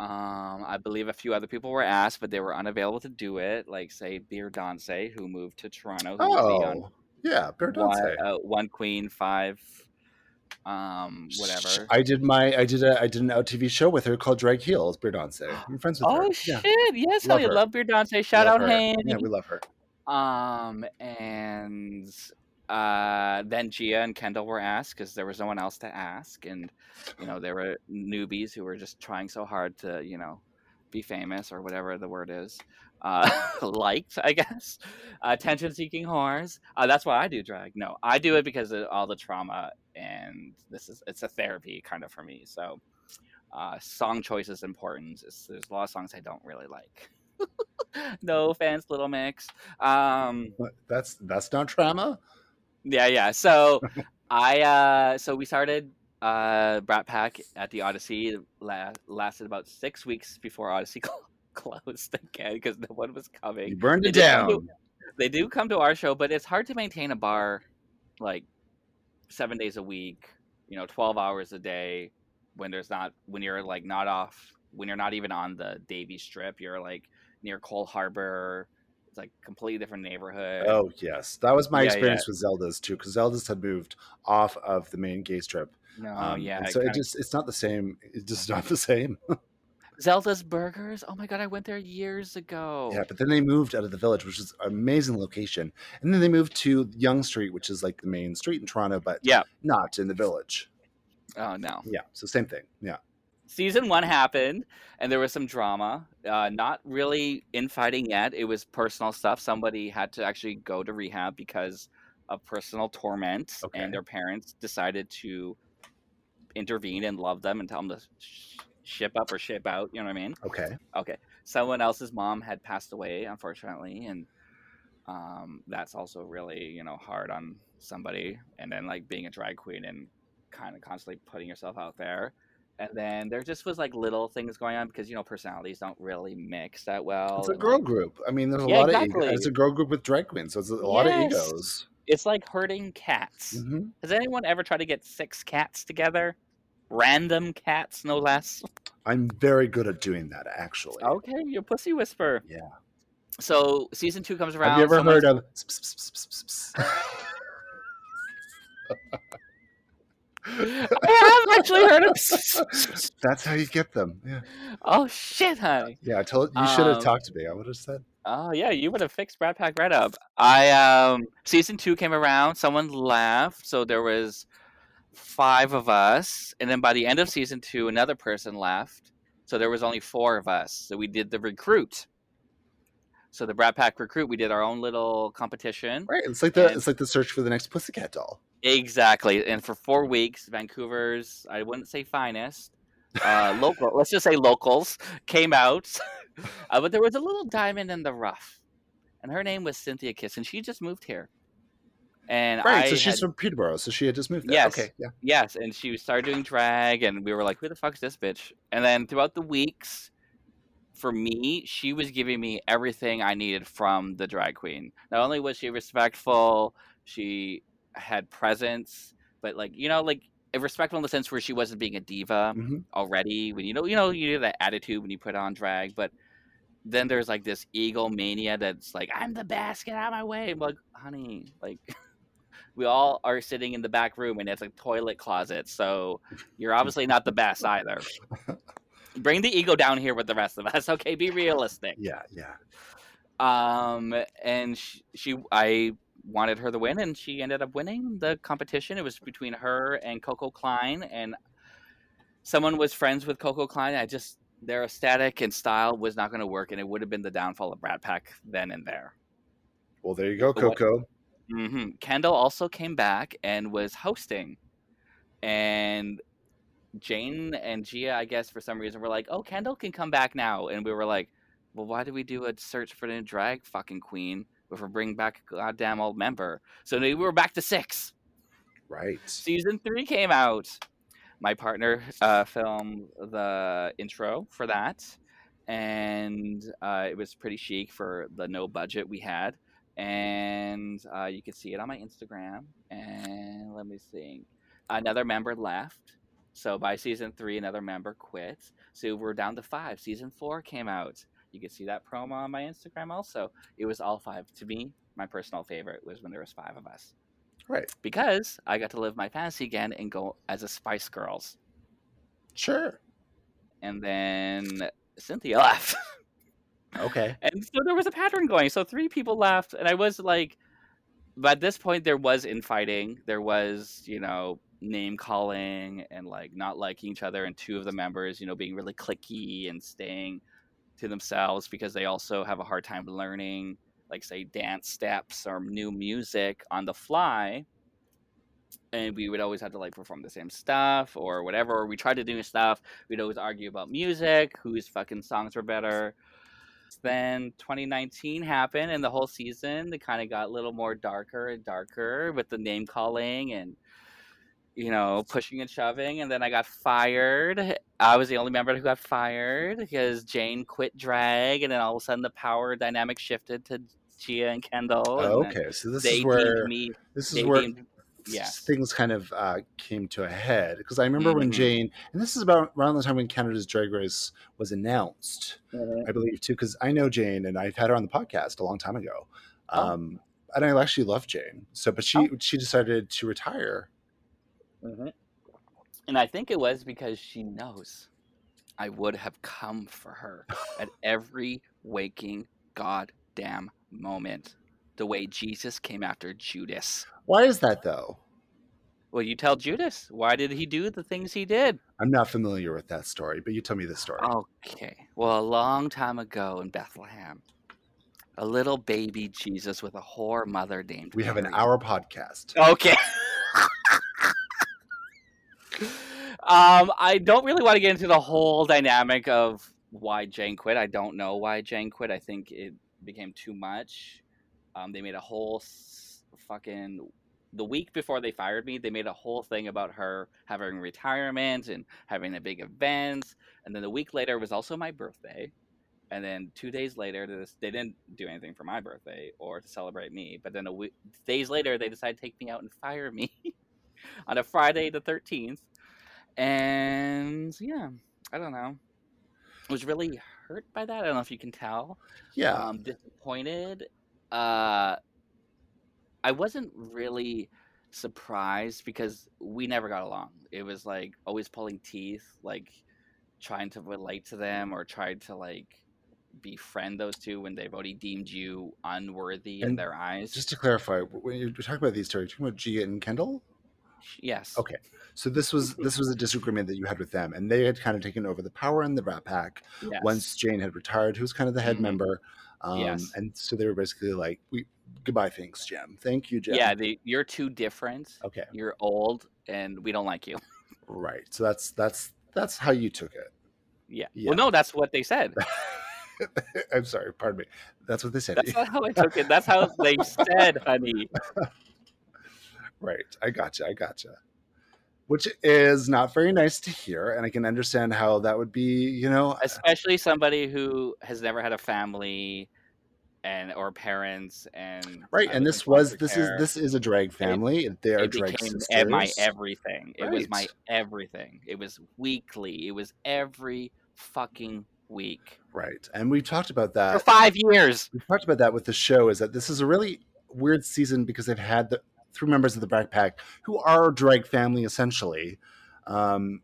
Um, I believe a few other people were asked, but they were unavailable to do it. Like, say, Beer Danse, who moved to Toronto. who was the Oh, yeah, Perdonce. one, uh, one queen, five, um, whatever. I did my I did a I did an out TV show with her called Drag Heels, Berdonce. I'm friends with her. oh shit! Yes, Love honey, her. love Beardante. Shout Love out, her. Hank. Yeah, we love her. Um, and uh, then Gia and Kendall were asked because there was no one else to ask, and you know there were newbies who were just trying so hard to you know be famous or whatever the word is, uh, liked I guess, attention-seeking whores. Uh, that's why I do drag. No, I do it because of all the trauma, and this is it's a therapy kind of for me. So. Uh, song choice is important. It's, there's a lot of songs I don't really like. no offense, Little Mix. Um, What? That's that's not trauma. yeah, yeah. So I, uh, so we started uh, Brat Pack at the Odyssey. It La- lasted about six weeks before Odyssey closed again because no one was You coming. burned it They didn't down. do- They do come to our show, but it's hard to maintain a bar like seven days a week. You know, twelve hours a day when there's not when you're like not off when you're not even on the Davy Strip. You're like near Cole Harbor. It's like completely different neighborhood. Oh yes, that was my Yeah, experience with Zelda's too, because Zelda's had moved off of the main gay strip. No, Um, Oh, yeah. and it so it kinda- just it's not the same. It's just not the same. Zelda's Burgers. Oh my god, I went there years ago. Yeah, but then they moved out of the village, which is an amazing location, and then they moved to Young Street, which is like the main street in Toronto, but Yeah. not in the village. Oh no. Yeah, so same thing. Yeah, Season one happened, and there was some drama. Uh, not really infighting yet. It was personal stuff. Somebody had to actually go to rehab because of personal torment, Okay. and their parents decided to intervene and love them and tell them to sh- ship up or ship out. You know what I mean? okay. Okay. Someone else's mom had passed away, unfortunately, and um, that's also really, you know, hard on somebody. And then like being a drag queen and kind of constantly putting yourself out there. And then there just was like little things going on because you know personalities don't really mix that well. It's a and, girl like, group. I mean, there's a Yeah, lot of exactly. ego. It's a girl group with drag queens, so it's a lot Yes. of egos. it's like herding cats. Mhm. Has anyone ever tried to get six cats together? Random cats, no less. I'm very good at doing that, actually. Okay, your pussy whisper. Yeah. So season two comes Have around. you ever someone's- heard of? s- s- s- s- s- I have actually heard of. That's how you get them. Yeah, oh shit, honey. yeah. I told you should have Um, talked to me. I would have said. Oh yeah, you would have fixed Brad Pack right up. I um season two came around, someone left, so there was five of us, and then by the end of season two, another person left, so there was only four of us. So we did the recruit. So the Brad Pack recruit, we did our own little competition. Right. It's like the and- it's like the search for the next pussycat doll. Exactly, and for four weeks, Vancouver's I wouldn't say finest, uh, local. Let's just say locals came out, uh, but there was a little diamond in the rough, and her name was Cynthia Kiss, and she just moved here. And Right. I so she's had- from Peterborough. So she had just moved there. Yes. Okay. Yeah. yes, and she started doing drag, and we were like, "Who the fuck's this bitch?" And then throughout the weeks, for me, she was giving me everything I needed from the drag queen. Not only was she respectful, she had presence, but like you know, like respectful in the sense where she wasn't being a diva Mhm. already. When you know, you know, you do that attitude when you put on drag, but then there's like this ego mania that's like, "I'm the best, get out of my way." I'm like, honey, like. We all are sitting in the back room, and it's a toilet closet. So you're obviously not the best either. Bring the ego down here with the rest of us, okay? Be realistic Yeah. Yeah. um and she, she i wanted her to win and she ended up winning the competition it was between her and coco klein and someone was friends with coco klein i just their aesthetic and style was not going to work and it would have been the downfall of brat pack then and there Well, there you go, But what- Coco. hmm Kendall also came back and was hosting, and Jane and Gia, I guess for some reason, were like, "Oh, Kendall can come back now," and we were like, "Well, why did we do a search for the drag fucking queen if we're bringing back a goddamn old member?" So we were back to six. Right. Season three came out. My partner uh, filmed the intro for that, and uh, it was pretty chic for the no budget we had. And uh, you can see it on my Instagram. And let me see. Another member left. So by season three, another member quit. So we're down to five. Season four came out. You can see that promo on my Instagram also. It was all five. To me, my personal favorite was when there was five of us Right. because I got to live my fantasy again and go as a Spice Girls. Sure. And then Cynthia left. Okay. and so there was a pattern going. So three people left, and I was like, but at this point, there was infighting. There was, you know, name calling and like not liking each other, and two of the members, you know, being really clicky and staying to themselves because they also have a hard time learning, like, say, dance steps or new music on the fly. And we would always have to like perform the same stuff or whatever. Or we tried to do new stuff. We'd always argue about music, whose fucking songs were better then 2019 happened and the whole season they kind of got a little more darker and darker with the name calling and you know pushing and shoving and then i got fired i was the only member who got fired because jane quit drag and then all of a sudden the power dynamic shifted to gia and kendall Oh, and then okay. So this they is where deemed me this they is where deemed- yes. things kind of uh, came to a head because I remember when Mhm. Jane, and this is about around the time when Canada's Drag Race was announced, uh, I believe too, because I know Jane and I've had her on the podcast a long time ago, Oh. um, and I actually love Jane. So, but she she decided to retire. Mm-hmm. Mhm. And I think it was because she knows I would have come for her at every waking goddamn moment. The way Jesus came after Judas. Why is that though? Well, you tell Judas, why did he do the things he did? I'm not familiar with that story, but you tell me the story. Oh, Okay. Well, a long time ago in Bethlehem, a little baby Jesus with a whore mother named we have an Mary. hour podcast. Okay. um, I don't really want to get into the whole dynamic of why Jane quit. I don't know why Jane quit. I think it became too much. Um, they made a whole s- fucking the week before they fired me, they made a whole thing about her having retirement and having a big event. And then the week later was also my birthday. And then two days later, this- they didn't do anything for my birthday or to celebrate me. But then a week, days later, they decided to take me out and fire me on a Friday the 13th. And yeah, I don't know. I was really hurt by that. I don't know if you can tell. Yeah. Um, disappointed. Uh, I wasn't really surprised because we never got along. It was like always pulling teeth, like trying to relate to them or tried to like befriend those two when they've already deemed you unworthy in And their eyes. Just to clarify, when you're talking about these two, are you talking about Gia and Kendall? yes. Okay. So this was Mm-hmm. this was a disagreement that you had with them, and they had kind of taken over the power in the Rat Pack Yes. once Jane had retired, who was kind of the head Mhm. member. Um, Yes. And so they were basically like, "We goodbye, thanks, Jim. Thank you, Jim." yeah, they, you're too different. Okay. You're old, and we don't like you. Right. So that's that's that's how you took it. Yeah. Yeah. Well, no, that's what they said. I'm sorry. Pardon me. That's what they said. That's not how I took it. That's how they said, honey. Right. I gotcha. I gotcha. Which is not very nice to hear. And I can understand how that would be, you know, Especially somebody who has never had a family and or parents and right. I And this in foster was, this is, care. this is a drag family. they are it drag became sisters. e- my everything. It was my Right. everything. It was weekly. It was every fucking week right. And we talked about for that. five years. We talked about that with the show is that this is a really weird season because they've had the three members of the backpack who are drag family essentially. Um,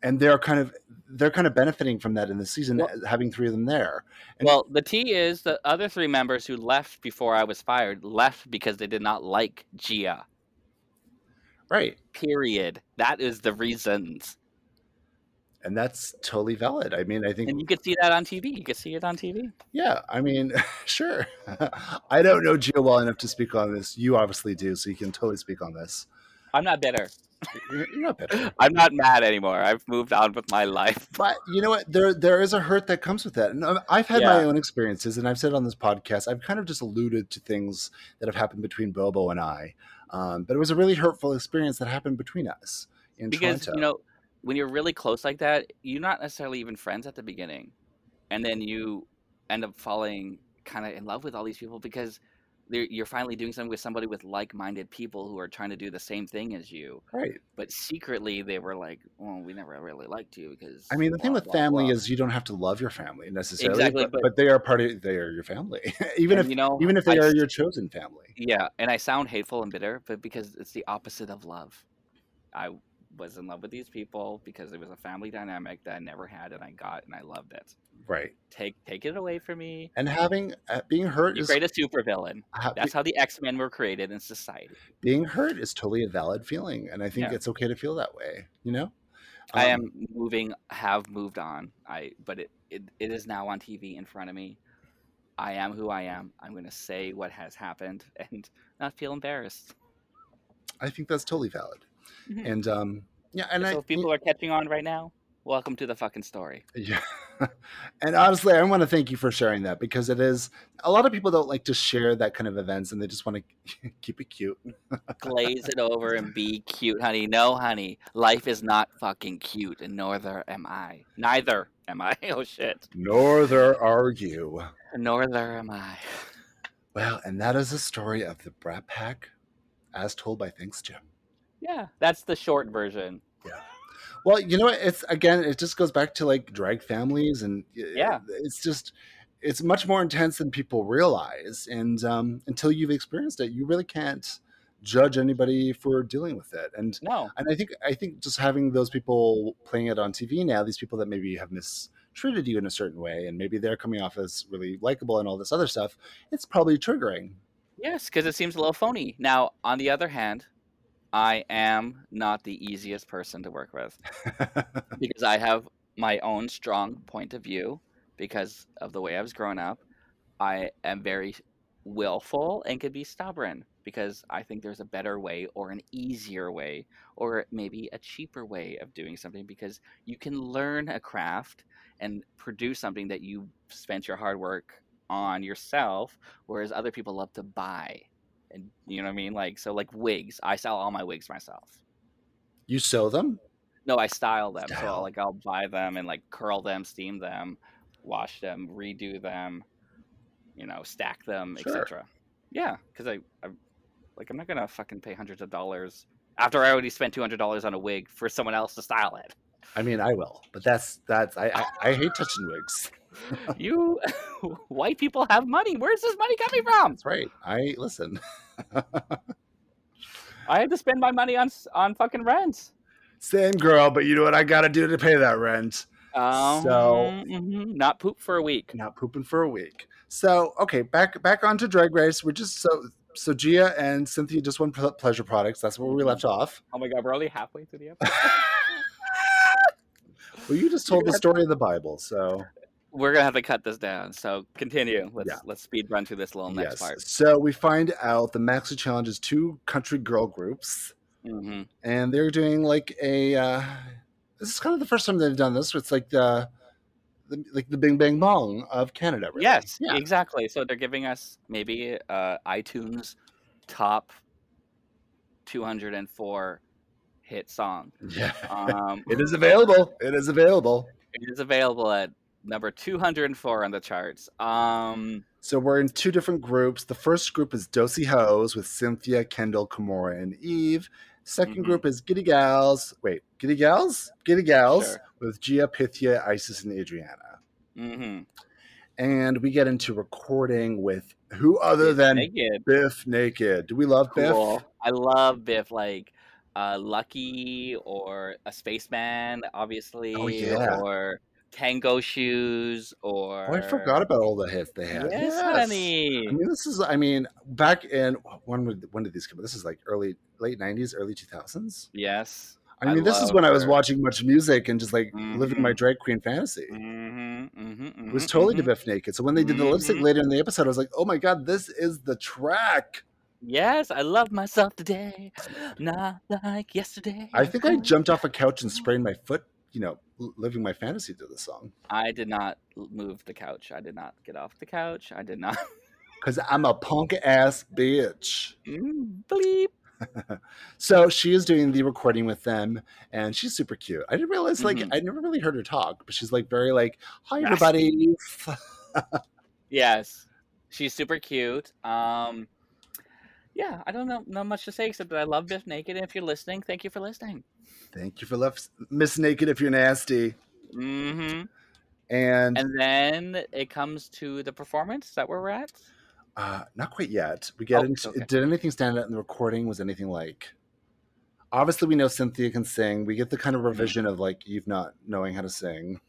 and they're kind of they're kind of benefiting from that in the season, uh, Well- having three of them there. And- Well, the tea is the other three members who left before I was fired left because they did not like Gia. Right. Period. That is the reasons. And that's totally valid. I mean, I think And you could see that on TV. You could see it on TV. Yeah, I mean, sure. I don't know Gio well enough to speak on this. You obviously do, so you can totally speak on this. I'm not bitter. You're you're not bitter, I'm not mad anymore. I've moved on with my life. but you know what? There, there is a hurt that comes with that, and I- I've had my Yeah. own experiences, and I've said on this podcast, I've kind of just alluded to things that have happened between Bobo and I. Um, but it was a really hurtful experience that happened between us in Because, Toronto. you know, when you're really close like that, you're not necessarily even friends at the beginning. And then you end up falling kind of in love with all these people because they're- you're finally doing something with somebody with like minded people who are trying to do the same thing as you. right? But secretly, they were like, well, we never really liked you because. I mean, the thing blah, with blah, family blah." is you don't have to love your family necessarily, Exactly, but, but- but they are part of they are your family, even And, if you know, even if they I are s- your chosen family. Yeah, and I sound hateful and bitter, but because it's the opposite of love. I was in love with these people because it was a family dynamic that I never had and I got and I loved it. Right. Take take it away from me. And having uh, being hurt You is create a supervillain. ha- That's how the X Men were created in society. being hurt is totally a valid feeling, and I think Yeah. it's okay to feel that way. You know, I Um, am moving have moved on. I but it, it it is now on TV in front of me. I am who I am. I'm gonna say what has happened and not feel embarrassed. I think that's totally valid. Mhm. And um, yeah, and I so if people are catching on right now, welcome to the fucking story. yeah. and honestly, I want to thank you for sharing that because it is a lot of people don't like to share that kind of events, and they just want to keep it cute. glaze it over and be cute, honey. No, honey, life is not fucking cute, and neither am I. Neither am I. Oh shit. Norther are you? Neither am I. Well, and that is the story of the Brat Pack, as told by Thanks Jim. Yeah, that's the short version. Well, you know, what? it's again, it just goes back to like drag families, and uh, Yeah. it's just it's much more intense than people realize, and um, until you've experienced it, you really can't judge anybody for dealing with it. And No, and I think I think just having those people playing it on TV now, these people that maybe have mistreated you in a certain way, and maybe they're coming off as really likable and all this other stuff, it's probably triggering. yes, because it seems a little phony. Now, on the other hand, I am not the easiest person to work with because I have my own strong point of view because of the way I was growing up. I am very willful and could be stubborn because I think there's a better way or an easier way or maybe a cheaper way of doing something because you can learn a craft and produce something that you spent your hard work on yourself whereas other people love to buy and you know what I mean like so like wigs I sell all my wigs myself you sew them, no, I style them. So Style. I'll, like I'll buy them and like curl them, steam them, wash them, redo them, you know, stack them, Sure. etc. Yeah, because I, I like I'm not gonna fucking pay hundreds of dollars after I already spent two hundred dollars on a wig for someone else to style it. I mean, I will, but that's that's I I, I hate touching wigs. you white people have money. Where's this money coming from? That's right. I listen. I had to spend my money on on fucking rent. Same girl, but you know what I got to do to pay that rent? Um, So- mhm, not poop for a week. Not pooping for a week. So okay, back back onto Drag Race. We're just so so Gia and Cynthia just won ple- pleasure products. That's where we left off. Oh my god, we're only halfway through the episode. Well, you just told the story of the Bible, so We're gonna have to cut this down. So continue. Let's Yeah. let's speed run through this little next part. So we find out the Maxi Challenge is two country girl groups, hmm and they're doing like a. Uh, this is kind of the first time they've done this. It's like the, the like the Bing Bang Bong of Canada. Really. Yes, Yeah. exactly. So they're giving us maybe uh, iTunes top 204 hit song. Yeah. Um, it is available. It is available. it is available at number 204 on the charts. Um, So we're in two different groups. The first group is Dosey Hoes with Cynthia, Kendall, Kimora, and Eve. 2nd Mhm. group is Giddy Gals. Wait, Giddy Gals? Giddy Gals Sure. with Gia, Pythia, Isis, and Adriana. mhm. And we get into recording with who other than Naked. Biff Naked. Do we love Cool. Biff? I love Biff. Like uh, Lucky or a Spaceman, obviously. Oh, yeah. Or Tango Shoes or. Oh, I forgot about all the hits they had. Yes, I honey. mean, this is. I mean, back in when would when did these come? out? This is like early, late '90s, early 2000s. Yes. I I mean, this is love when I was her. watching much music and just like living my Mhm. drag queen fantasy. Mm-hmm, mm-hmm, It was totally different. to Biff Naked. So when they did the lip sync Mhm. later in the episode, I was like, oh my God, this is the track. Yes, I love myself today, not like yesterday. I think I jumped off a couch and sprained my foot, you know, l- living my fantasy to this song. I did not l- move the couch. I did not get off the couch. I did not. Because I'm a punk ass bitch. Mm, Bleep. So she is doing the recording with them and she's super cute. I didn't realize, like, Mhm. I never really heard her talk, but she's like very, like, hi, Raspy. everybody. Yes, she's super cute. Um, yeah, I don't know not much to say except that I love Biff Naked. And if you're listening, thank you for listening. Thank you for love, Miss Naked, if you're nasty. hmm And, And then it comes to the performance. Is that where we're at? uh, not quite yet. We get Oh, into okay. did anything stand out in the recording? Was anything like obviously we know Cynthia can sing. We get the Mm-hmm. kind of revision of like Eve not knowing how to sing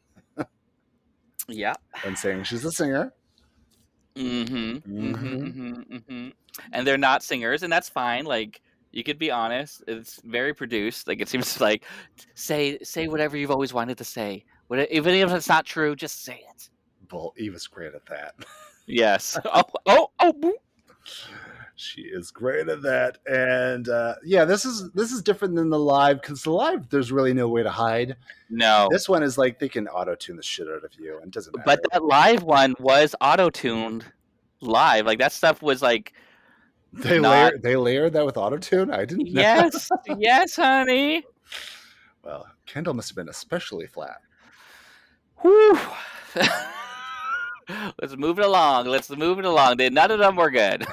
Yeah. and saying she's a singer. Mm-hmm. Mhm. Mm-hmm. Mm-hmm. And they're not singers, and that's fine. Like you could be honest. It's very produced. Like it seems like say say whatever you've always wanted to say. What, even if it's not true, just say it. Well, Eve is great at that. Yes. oh oh oh. boo. She is great at that. And uh, yeah, this is this is different than the live because the live there's really no way to hide. No. This one is like they can auto tune the shit out of you and it doesn't matter. Oh. But that live one was auto tuned live. Like that stuff was like they not- layer they layered that with auto tune. I didn't know. yes yes honey. Well, Kendall must have been especially flat. Whew. Let's move it along. Let's move it along. They- None of them were good.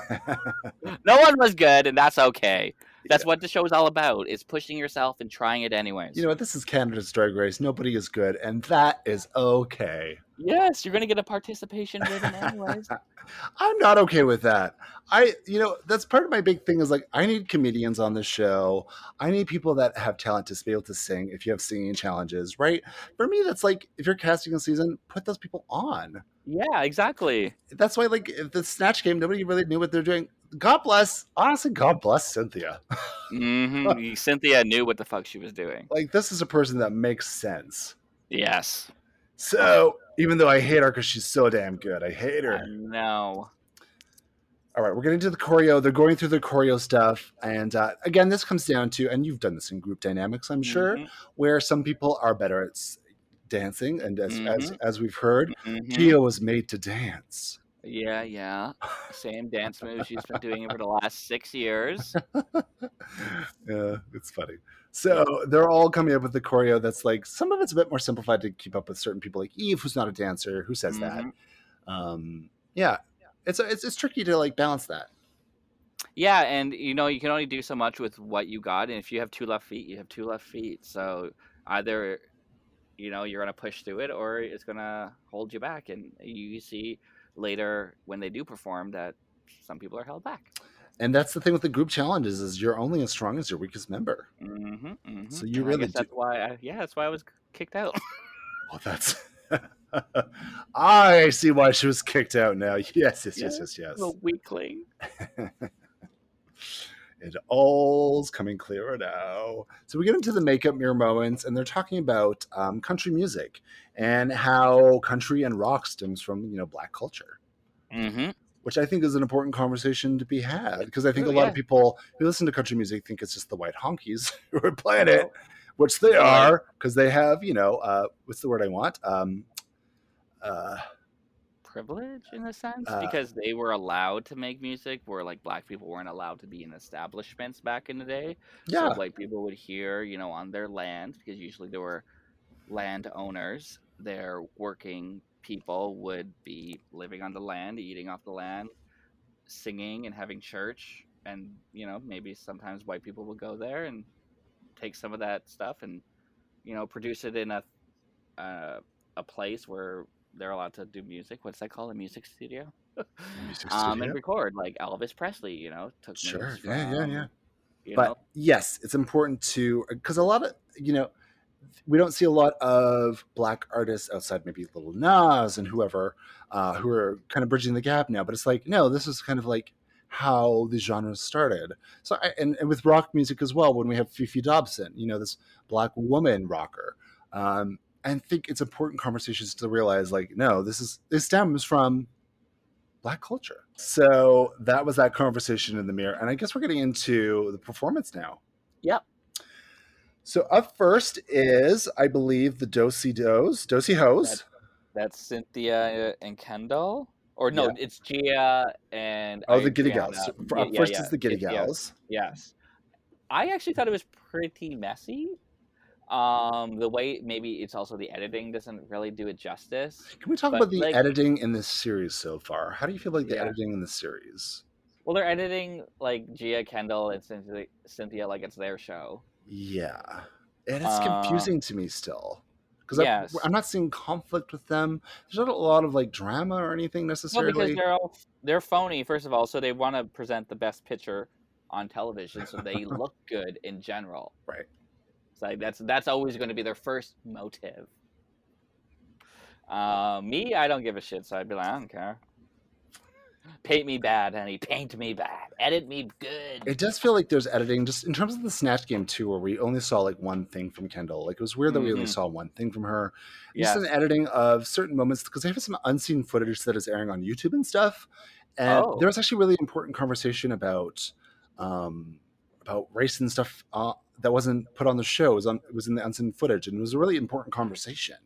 no one was good, and that's okay. That's what the show is all about: is pushing yourself and trying it anyways. You know what? This is Canada's Drag Race. Nobody is good, and that is okay. yes, you're gonna get a participation ribbon anyways. I'm not okay with that. I, you know, that's part of my big thing is like, I need comedians on the show. I need people that have talent to be able to sing if you have singing challenges, right? For me, that's like, if you're casting a season, put those people on. yeah, exactly. That's why, like, if the Snatch game, nobody really knew what they're doing. God bless, honestly, God bless Cynthia. hmm Cynthia knew what the fuck she was doing. Like, this is a person that makes sense. Yes. So, even though I hate her because she's so damn good, I hate her. I know. All right, we're getting to the choreo. They're going through the choreo stuff. And uh, again, this comes down to, and you've done this in group dynamics, I'm sure, Mhm, where some people are better at s- dancing. And as, as, Mhm. as we've heard, mhm. Gia was made to dance. Yeah, yeah. Same dance move she's been doing for the last six years. yeah, it's funny. So they're all coming up with the choreo that's like, some of it's a bit more simplified to keep up with certain people, like Eve, who's not a dancer, who says that. Mhm. Um, yeah, it's, it's, it's tricky to like balance that. Yeah, and you know you can only do so much with what you got, and if you have two left feet, you have two left feet. So either you know you're gonna push through it, or it's gonna hold you back. And you see later when they do perform that some people are held back. And that's the thing with the group challenges is you're only as strong as your weakest member. Mm-hmm, mm-hmm. So you And I really guess that's why. I, yeah, that's why I was kicked out. Well, that's. I see why she was kicked out now. Yes, yes, yes, yes, yes. I'm a weakling. it all's coming clearer now. So we get into the makeup mirror moments, and they're talking about um, country music and how country and rock stems from you know black culture, Mm-hmm. which I think is an important conversation to be had because I think True, a lot yeah. of people who listen to country music think it's just the white honkies who are playing it, which they are because they have you know uh, what's the word I want. Um, uh, privilege in a sense Uh, because they were allowed to make music where like black people weren't allowed to be in establishments back in the day yeah, so like people would hear you know on their land because usually there were land owners their working people would be living on the land eating off the land singing and having church and you know maybe sometimes white people would go there and take some of that stuff and you know produce it in a uh, a place where they're allowed to do music what's that called a music studio Music um studio. and record like elvis presley you know took Sure. notes Yeah, yeah, yeah. from, you but know yes, it's important to because a lot of you know we don't see a lot of black artists outside maybe Little Nas and whoever uh, who are kind of bridging the gap now. But it's like no, this is kind of like how the genre started. So I, and, and with rock music as well, when we have Fifi Dobson, you know this black woman rocker. Um, I think it's important conversations to realize like no, this is this stems from black culture. So that was that conversation in the mirror. And I guess we're getting into the performance now. Yep. So up first is, I believe, the Dosi Dos, Dosi Hos. that's cynthia and kendall or no Yeah. it's gia and Oh, the Giddy Adriana. Gals. F- Up first is the Giddy it's- yeah. Gals. Yes. I actually thought it was pretty messy. Um, the way maybe it's also the editing doesn't really do it justice. Can we talk But, about the like- editing in this series so far? How do you feel like the Yeah. editing in the series? Well, they're editing like Gia Kendall and Cynthia, Cynthia like it's their show. Yeah. And it's Uh, confusing to me still. Because yes. I'm not seeing conflict with them. There's not a lot of like drama or anything Well, necessarily. because they're all they're phony, first of all, so they want to present the best picture on television, so they look good in general. Right. It's like that's that's always going to be their first motive. Uh, me, I don't give a shit, so I'd be like, I don't care. Paint me bad, honey. Paint me bad. Edit me good. It does feel like there's editing, just in terms of the Snatch Game too, where we only saw like one thing from Kendall. Like it was weird that we only Mhm. saw one thing from her. yeah. Just an editing of certain moments because they have some unseen footage that is airing on YouTube and stuff. And Oh. there was actually really important conversation about um, about race and stuff uh, that wasn't put on the show. It was, on, it was in the unseen footage, and it was a really important conversation.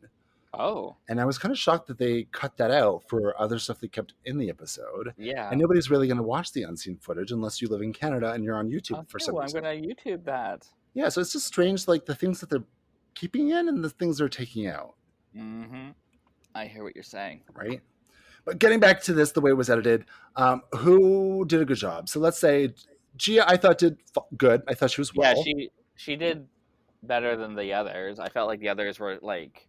Oh, And I was kind of shocked that they cut that out for other stuff they kept in the episode. yeah. And nobody's really going to watch the unseen footage unless you live in Canada and you're on YouTube Okay, for some well, reason. Oh, I'm gonna YouTube that. Yeah, so it's just strange, like the things that they're keeping in and the things they're taking out, hmm I hear what you're saying. right? But getting back to this, the way it was edited, um, who did a good job? So let's say Gia, I thought did f- good. I thought she was well. yeah, she she did better than the others. I felt like the others were like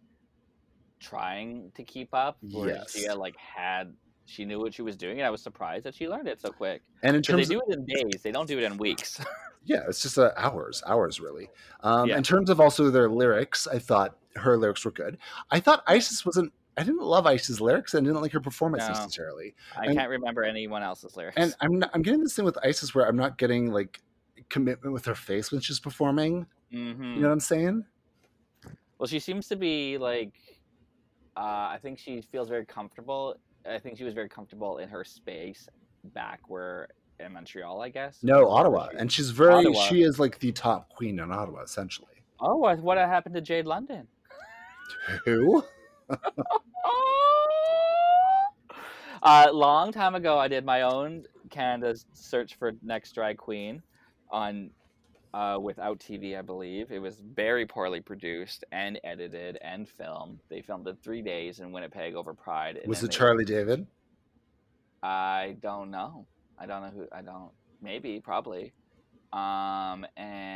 trying to keep up. Whereas Yes. Gia like had she knew what she was doing, and I was surprised that she learned it so quick. and in 'Cause terms, they of, do it in days; they don't do it in weeks. yeah, it's just uh, hours, hours really. Um, Yeah. In terms of also their lyrics, I thought her lyrics were good. I thought Isis wasn't. I didn't love Isis' lyrics and didn't like her performance No. necessarily. I And- can't remember anyone else's lyrics. And I'm not, I'm getting this thing with Isis where I'm not getting like commitment with her face when she's performing. Mhm. You know what I'm saying? Well, she seems to be like, uh, I think she feels very comfortable. I think she was very comfortable in her space back where in Montreal, I guess. No, or Ottawa. wherever she- And she's very, Ottawa. she is like the top queen in Ottawa, essentially. oh, what, what happened to Jade London? Who? Uh, long time ago, I did my own Canada search for next drag queen on uh, without TV, I believe. It was very poorly produced and edited and filmed. They filmed it three days in Winnipeg over Pride. and Was then it they- Charlie David? I don't know. I don't know who. I don't maybe, probably. Um,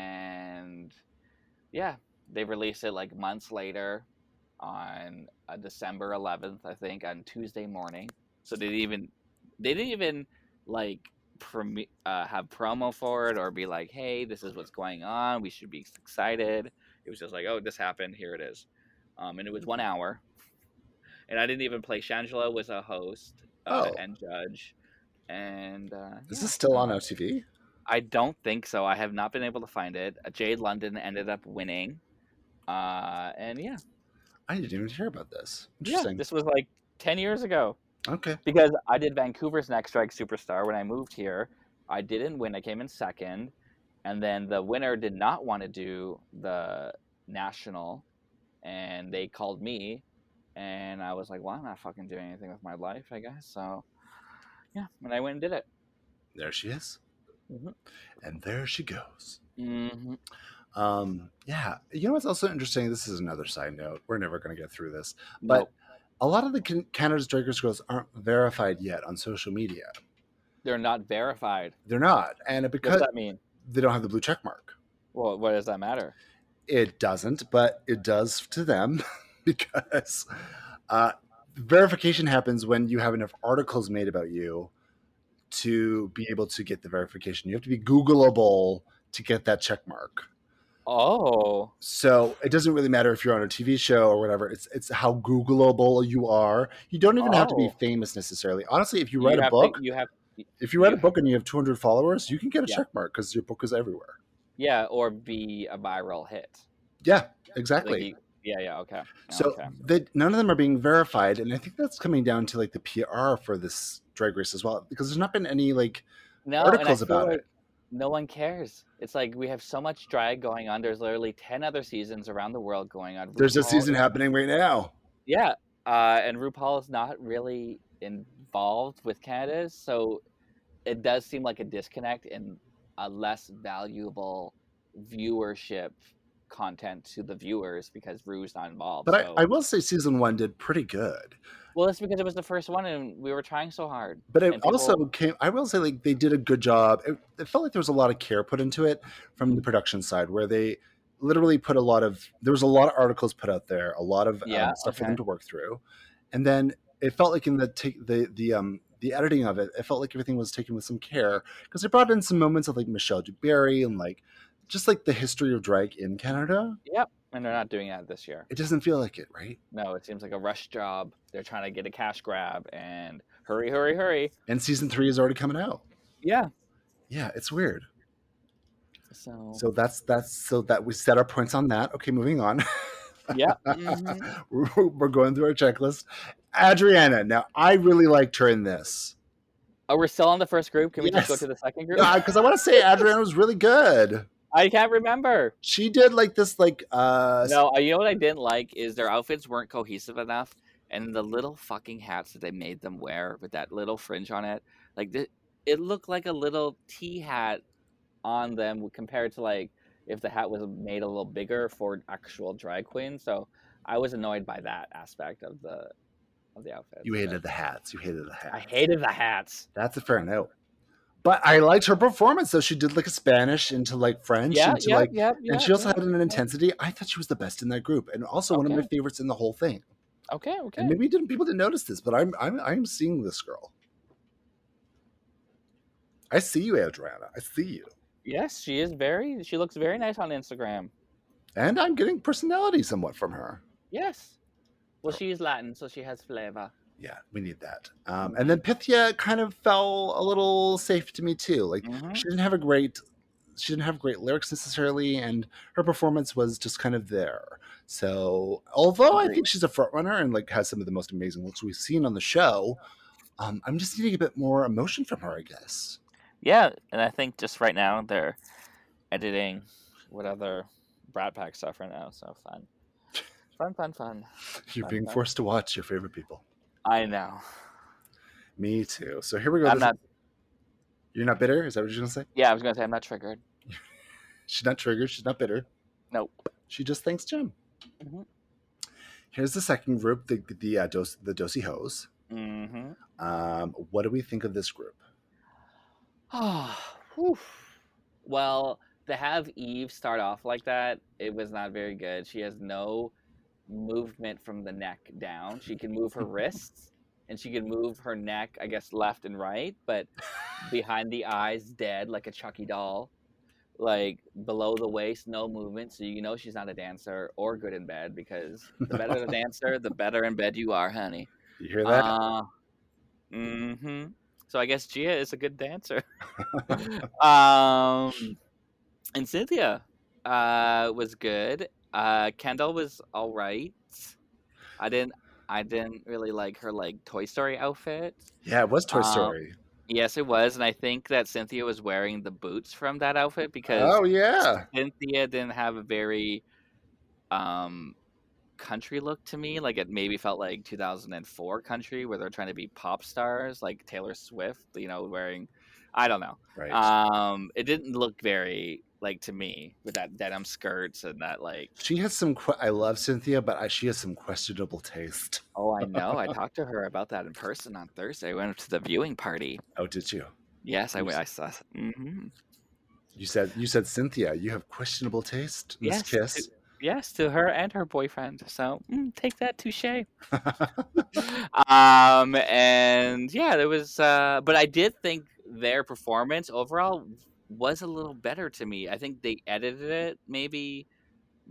and yeah, they released it like months later on uh, December 11th, I think, on Tuesday morning. So they didn't even they didn't even like prom- uh, have promo for it or be like, "Hey, this is what's going on. We should be excited." It was just like, "Oh, this happened. Here it is," um, and it was one hour. And I didn't even play. Shangela was a host uh, Oh. and judge, and uh, Is yeah. this still on OTV? I don't think so. I have not been able to find it. Uh, Jade London ended up winning, uh, and yeah, I didn't even hear about this. yeah, Interesting. this was like ten years ago. okay. because I did Vancouver's Next Strike Superstar when I moved here. I didn't win. I came in second, and then the winner did not want to do the national, and they called me, and I was like, "Well, I'm not fucking doing anything with my life, I guess." So, yeah, and I went and did it. There she is. Mhm. And there she goes. Mm-hmm. hmm Um, yeah. You know what's also interesting? This is another side note. We're never going to get through this. But But a lot of the Can- Canada's Drakers girls aren't verified yet on social media. they're not verified. They're not. And What does because that mean? they don't have the blue check mark, Well, what does that matter? it doesn't, but it does to them because uh, verification happens when you have enough articles made about you to be able to get the verification. You have to be Googleable to get that check mark. Oh, So it doesn't really matter if you're on a TV show or whatever. It's it's how Googleable you are. You don't even have to be Oh. famous necessarily. Honestly, if you write a have to- book, you have if you write you- a book and you have 200 followers, you can get a Yeah. check mark because your book is everywhere. yeah, or be a viral hit. Yeah, Like, exactly. you- yeah, yeah, okay. So okay. that none of them are being verified, and I think that's coming down to like the PR for this drag race as well, because there's not been any like no, articles and I feel about like it. No one cares. It's like we have so much drag going on. There's literally ten other seasons around the world going on. There's a RuPaul- season happening right now. Yeah, uh, and RuPaul is not really involved with Canada, so it does seem like a disconnect and a less valuable viewership content to the viewers because Ru's not involved. But so- I, I will say season one did pretty good. well, it's because it was the first one and we were trying so hard. But it And people- also came. I will say, like they did a good job. It, it felt like there was a lot of care put into it from the production side, where they literally put a lot of. There was a lot of articles put out there, a lot of Yeah, um, stuff for okay. them to work through, and then it felt like in the take the the um the editing of it, it felt like everything was taken with some care because they brought in some moments of like Michelle DuBarry and like just like the history of drag in Canada. And they're not doing that this year. It doesn't feel like it, right? No, it seems like a rush job. They're trying to get a cash grab and hurry, hurry, hurry. And season three is already coming out. Yeah. Yeah, it's weird. So, So that's that's so that we set our points on that. Okay, moving on. yeah, mhm. We're- we're going through our checklist. Adriana, now I really liked her in this Oh, we're still on the first group. Can we just go Yes. to the second group? because Uh, I want to say Adriana was really good. I can't remember. She did like this, like uh, No, uh, you know what I didn't like is their outfits weren't cohesive enough, and the little fucking hats that they made them wear with that little fringe on it, like th- it looked like a little tea hat on them compared to like if the hat was made a little bigger for an actual drag queen. So I was annoyed by that aspect of the of the outfit. you hated the hats. You hated the hats. I hated the hats. That's a fair note. But I liked her performance though. She did like a Spanish into like French Yeah, into yeah, like, yeah, yeah, and she also yeah. had an intensity. I thought she was the best in that group, and also one of my Okay. favorites in the whole thing. Okay, okay. And maybe didn't people didn't notice this, but I'm I'm I'm seeing this girl. I see you, Adriana. I see you. Yes, she is very. She looks very nice on Instagram. And I'm getting personality somewhat from her. Yes. Well, Oh. she's Latin, so she has flavor. Yeah, we need that. Um, and then Pythia kind of fell a little safe to me too. Like Mm-hmm. she didn't have a great she didn't have great lyrics necessarily, and her performance was just kind of there. So although I think she's a front runner and like has some of the most amazing looks we've seen on the show, um, I'm just needing a bit more emotion from her, I guess. Yeah, and I think just right now they're editing what other Brat Pack stuff right now. So fun, fun, fun, fun. You're Fun being fact. forced to watch your favorite people. I know. Me too. So here we go. I'm This- not. You're not bitter? Is that what you're gonna say? Yeah, I was gonna say I'm not triggered. She's not triggered. She's not bitter. Nope. She just thanks Jim. Mhm. Here's the second group, the the uh, dos, the Dosey Hoes. Mm-hmm. Um, what do we think of this group? Oh, Whew. Well, to have Eve start off like that, it was not very good. She has no movement from the neck down. She can move her wrists and she can move her neck, I guess, left and right, but behind the eyes, dead like a Chucky doll. Like below the waist, no movement. So you know she's not a dancer or good in bed because the better the dancer, the better in bed you are, honey. You hear that? Uh, hmm So I guess Gia is a good dancer. um, and Cynthia uh, was good. Uh, Kendall was all right. I didn't. I didn't really like her like Toy Story outfit. yeah, it was Toy um, Story. Yes, it was, and I think that Cynthia was wearing the boots from that outfit because Oh yeah. Cynthia didn't have a very um country look to me. Like it maybe felt like 2004 country where they're trying to be pop stars like Taylor Swift, you know, wearing I don't know. Right. Um it didn't look very like to me with that denim skirts and that like she has some. Que- I love Cynthia, but I, she has some questionable taste. oh I know. I talked to her about that in person on Thursday. I went to the viewing party. Oh, did you? Yes, I went I saw hmm You said you said Cynthia. You have questionable taste. Miss Yes, Kiss. Yes, to her and her boyfriend. So mm, take that, touche. um and yeah there was uh but i did think their performance overall was a little better to me i think they edited it maybe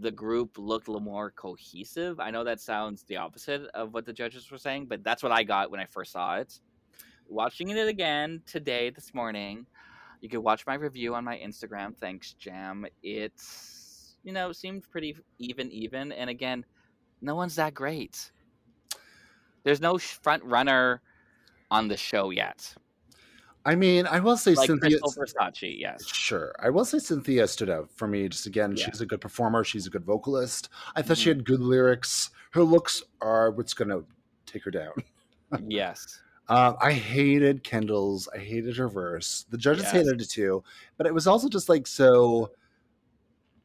the group looked a little more cohesive i know that sounds the opposite of what the judges were saying but that's what i got when i first saw it watching it again today this morning you can watch my review on my instagram thanks jam it's you know seemed pretty even even and again no one's that great there's no sh- front runner on the show yet. I mean, I will say Like Cynthia. Crystal Versace, yes. Sure. I will say Cynthia stood out for me. Just again, Yeah. Mm-hmm. she's a good performer. She's a good vocalist. I thought she had good lyrics. Her looks are what's going to take her down. yes. Uh, I hated Kendall's. I hated her verse. The judges Yes. hated it too. But it was also just like so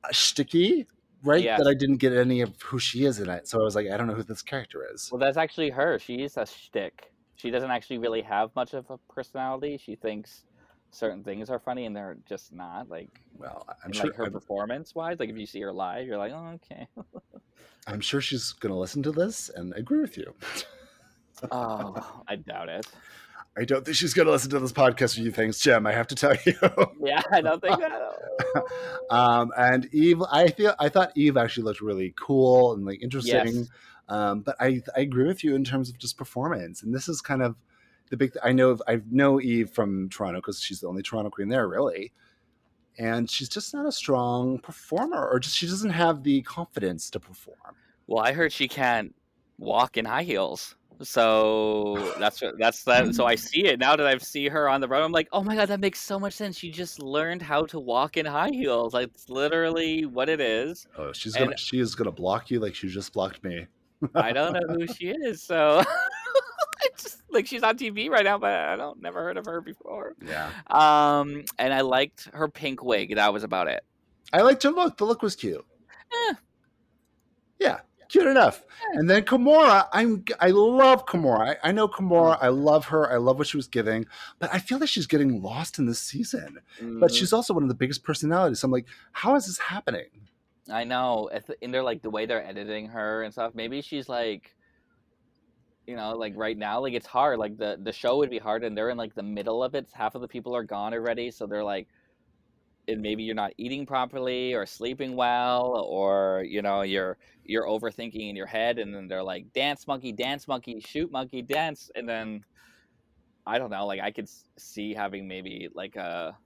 uh, shticky, right? Yes. That I didn't get any of who she is in it. So I was like, I don't know who this character is. Well, that's actually her. She's a shtick. She doesn't actually really have much of a personality. She thinks certain things are funny and they're just not. Like, Well, I'm and, sure. like her I'm, performance wise, like if you see her live, you're like, oh, okay. I'm sure she's going to listen to this and agree with you. oh, I doubt it. I don't think she's going to listen to this podcast with you, thanks, Jim. I have to tell you. Yeah, I don't think that. um, and Eve, I feel I thought Eve actually looked really cool and like interesting. Yes. Um, but I I agree with you in terms of just performance, and this is kind of the big. I know I know Eve from Toronto because she's the only Toronto queen there, really. And she's just not a strong performer, or just she doesn't have the confidence to perform. Well, I heard she can't walk in high heels. So that's what that's that. So I see it now that I've seen her on the road. I'm like, oh my god, that makes so much sense. She just learned how to walk in high heels. Like it's literally what it is. Oh, she's gonna And- she is gonna block you like she just blocked me. I don't know who she is. So it's just like she's on TV right now, but I don't never heard of her before. Yeah, Um, and I liked her pink wig. That was about it. I liked her look. The look was cute. Eh. Yeah, cute enough. Yeah. And then Kimora, I'm I love Kimora. I, I know Kimora. I love her. I love what she was giving, but I feel like she's getting lost in this season. But Mm. she's also one of the biggest personalities. So I'm like, how is this happening? I know, I th- and they're like the way they're editing her and stuff. Maybe she's like, you know, like right now, like it's hard. Like the the show would be hard, and they're in like the middle of it. Half of the people are gone already, so they're like, and maybe you're not eating properly or sleeping well, or you know, you're you're overthinking in your head, and then they're like, dance monkey, dance monkey, shoot monkey, dance, and then I don't know. Like I could s- see having maybe like a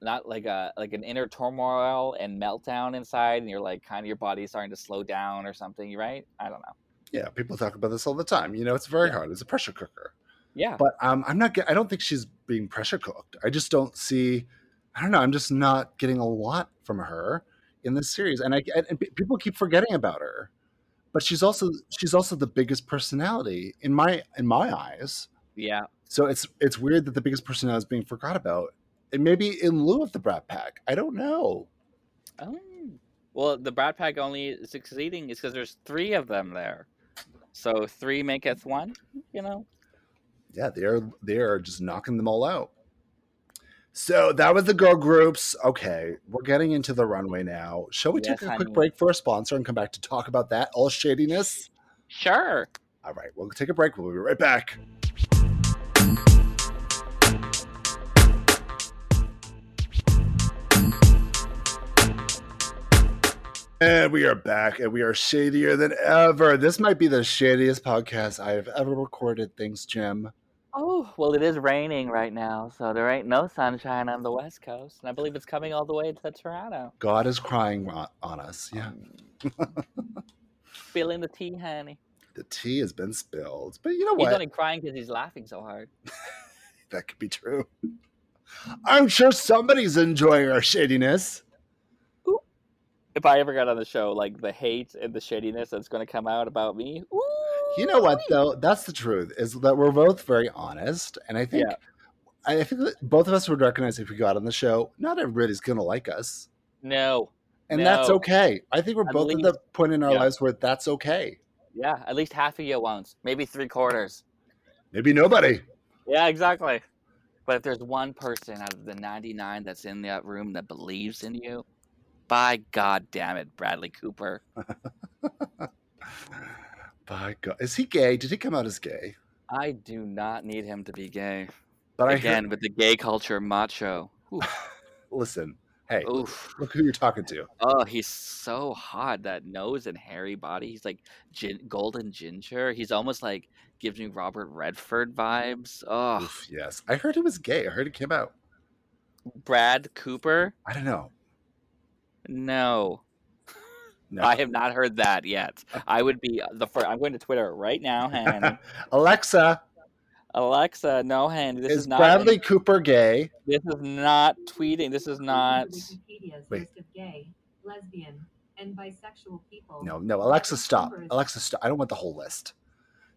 not like a like an inner turmoil and meltdown inside and you're like kind of your body's starting to slow down or something right i don't know Yeah, people talk about this all the time. You know, it's very Yeah. hard. It's a pressure cooker. yeah But um, I'm not. get- I don't think she's being pressure cooked. I just don't see. I don't know. I'm just not getting a lot from her in this series, and I and, and pe- people keep forgetting about her. But she's also she's also the biggest personality in my in my eyes. yeah So it's it's weird that the biggest personality is being forgot about, and maybe in lieu of the Brat Pack. I don't know. oh. well the brad pack only succeeding is because there's three of them there so three maketh one you know Yeah, they are they are just knocking them all out. So that was the girl groups. Okay, we're getting into the runway now. Shall we Yes, take a quick honey. break for a sponsor and come back to talk about that all shadiness? Sure. All right, we'll take a break. We'll be right back. And we are back and we are shadier than ever. This might be the shadiest podcast I have ever recorded. Thanks, Jim. Oh, well, it is raining right now, so there ain't no sunshine on the West Coast. And I believe it's coming all the way to Toronto. God is crying on on us. Yeah. Um, Spilling the tea, honey. The tea has been spilled. But you know He's what? only crying because he's laughing so hard. that could be true. I'm sure somebody's enjoying our shadiness. If I ever got on the show, like the hate and the shadiness that's going to come out about me. You know what though? That's the truth. Is that we're both very honest, and I think Yeah. I think that both of us would recognize if we got on the show, not everybody's gonna like us, No. and that's No. okay. I think we're At both at least- the point in our yeah. lives where that's okay. Yeah, at least half of you won't. Maybe three quarters. Maybe nobody. Yeah, exactly. But if there's one person out of the 99 that's in that room that believes in you, by God damn it, Bradley Cooper. By God, is he gay? Did he come out as gay? I do not need him to be gay. But I hear, Again, with the gay culture macho. Oof, listen, hey, oof. look who you're talking to. Oh, he's so hot. That nose and hairy body. He's like gin- golden ginger. He's almost like gives me Robert Redford vibes. Oh, Oof, yes, I heard he was gay. I heard he came out. Brad Cooper? I don't know. No. No. I have not heard that yet. I would be the first. I'm going to Twitter right now, Hanny. Alexa, Alexa, no, Hanny. This is, is not. Bradley Cooper gay? This is not tweeting. This is not. Wikipedia's Wait. list of gay, lesbian, and bisexual people. No, no. Alexa, stop. Alexa, stop. I don't want the whole list.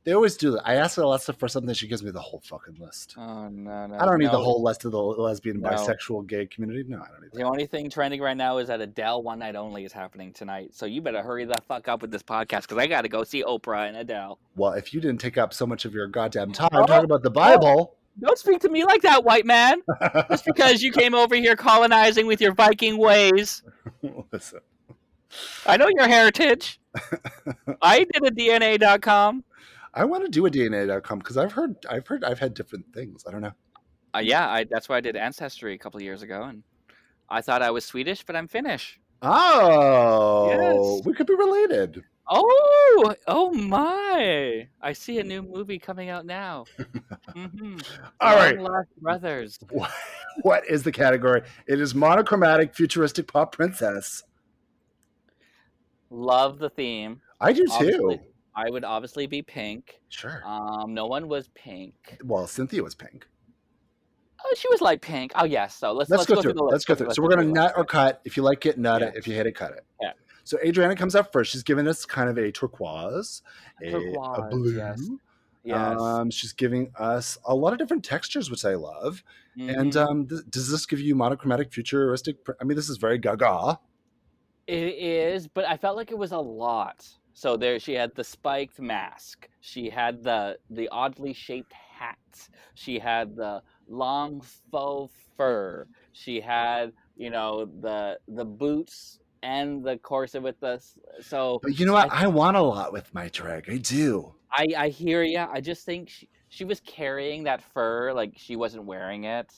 They always do that. I ask Alexa for something, she gives me the whole fucking list. Oh no, no. I don't need the no. whole list of the lesbian, No. bisexual, gay community. No, I don't need The that. only thing trending right now is that Adele One Night Only is happening tonight. So you better hurry the fuck up with this podcast because I got to go see Oprah and Adele. Well, if you didn't take up so much of your goddamn time Oh, talking about the Bible, Don't speak to me like that, white man. Just because you came over here colonizing with your Viking ways. listen. I know your heritage. I did a DNA.com. I want to do a DNA.com because I've heard, I've heard, I've had different things. I don't know. Uh, yeah, I, that's why I did Ancestry a couple years ago. And I thought I was Swedish, but I'm Finnish. Oh, we could be related. Oh, oh my. I see a new movie coming out now. hmm All right. Lost Brothers. What is the category? It is monochromatic, futuristic pop princess. Love the theme. I do too. Obviously. I would obviously be pink. Sure. Um, no one was pink. well, Cynthia was pink. Oh, she was like pink. Oh, yes. So let's, Let's, go, through. the list. Let's go through. Let's So we're gonna through the nut or list. cut. If you like it, nut Yeah. it. If you hate it, cut it. Yeah. So Adriana comes up first. She's giving us kind of a turquoise, a, a Turquoise, blue. yes. Yes. Um, she's giving us a lot of different textures, which I love. And Mhm. um, th- does this give you monochromatic, futuristic? Pr- I mean, this is very Gaga. Mm-hmm. It is, but I felt like it was a lot. So there, she had the spiked mask. She had the the oddly shaped hat. She had the long faux fur. She had, you know, the the boots and the corset with the. s- So But you know what? I, want a lot with my drag. I do. I I hear ya. I just think she she was carrying that fur like she wasn't wearing it.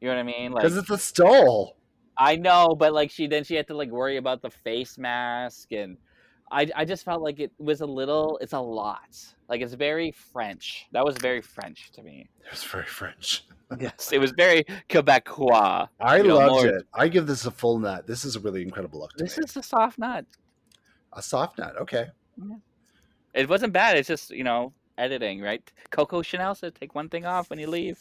You know what I mean? Like Because it's a stole. I know, but like she then she had to like worry about the face mask and I I just felt like it was a little it's a lot. Like it's very French. That was very French to me. It was very French. Yes, it was very Quebecois. I You know, loved more- it. I give this a full nut. This is a really incredible look. To This me. is a soft nut. a soft nut. Okay. It wasn't bad. It's just, you know, editing, right? Coco Chanel said take one thing off when you leave.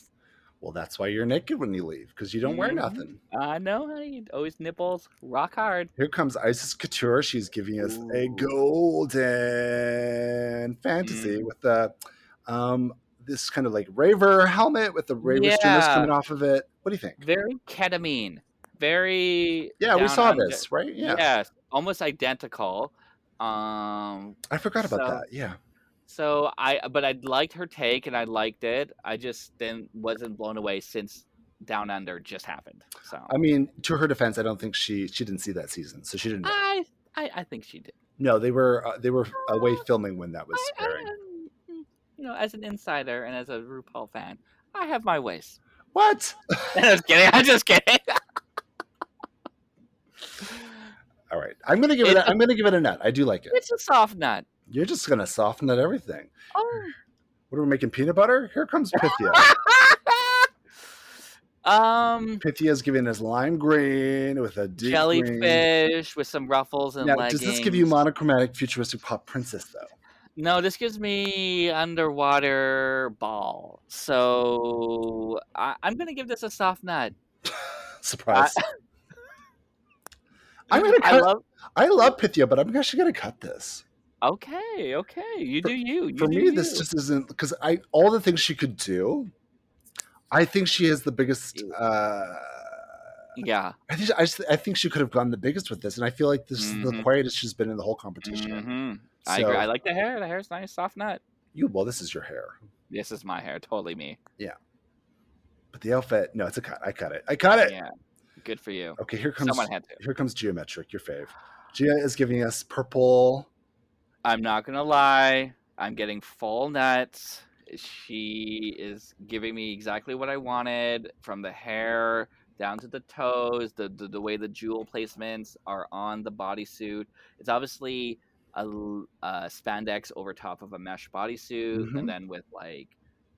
Well, that's why you're naked when you leave because you don't wear Mhm. nothing. I know, honey. Always nipples rock hard. Here comes Isis Couture. She's giving us a Ooh. golden fantasy Mm. with the um this kind of like raver helmet with the raver streamers Yeah. coming off of it. What do you think? Very ketamine. Very Yeah, we down saw under. this, right? Yeah. Yes. Almost identical. Um I forgot about So- that. Yeah. So I, but I liked her take and I liked it. I just then wasn't blown away since Down Under just happened. So I mean, to her defense, I don't think she she didn't see that season, so she didn't. know. I I, I think she did. No, they were uh, they were away filming when that was I, I, airing. um, you know, as an insider and as a RuPaul fan, I have my ways. What? I'm just kidding. I'm just kidding. All right, I'm gonna give it. uh A, I'm gonna give it a nut. I do like it. It's a soft nut. You're just gonna soften at everything. Oh. What are we making? Peanut butter? Here comes Pythia. um, Pythia's giving us lime green with a deep green. jellyfish with some ruffles and Now, does leggings. this give you monochromatic futuristic pop princess though? No, this gives me underwater ball. So I, I'm gonna give this a soft nut. Surprise. I, am gonna cut. I I love, love. Pythia, but I'm actually gonna cut this. Okay, okay. You For- do you. you For do me, this you. just isn't because I all the things she could do. I think she has the biggest. Uh, yeah. I think I, just, I think she could have gone the biggest with this, and I feel like this is the Mhm. quietest she's been in the whole competition. Mhm. I agree. So- I like the hair. The hair's nice, soft nut. You well, this is your hair, This is my hair. Totally me. but the outfit. No, it's a cut. I cut it. I cut it. Yeah. Good for you. Okay, here comes Someone had to. here comes geometric. Your fave. Gia is giving us purple. I'm not gonna lie. I'm getting full nuts. She is giving me exactly what I wanted from the hair down to the toes, the the, the way the jewel placements are on the bodysuit. It's obviously a, l- a spandex over top of a mesh bodysuit, Mhm. and then with like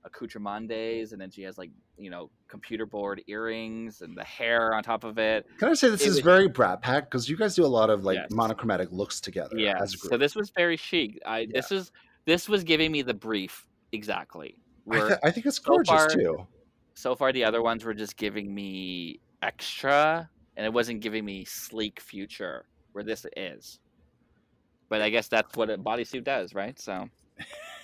accoutrements, and then she has like you know computer board earrings and the hair on top of it. Can I say this It is was- very Brat Pack because you guys do a lot of like Yes. monochromatic looks together Yeah. as a group. So this was very chic. I this is this was giving me the brief exactly. I, Where thi- I think it's gorgeous far- too. so far the other ones were just giving me extra, and it wasn't giving me sleek future where this is. But I guess that's what a bodysuit does, right? So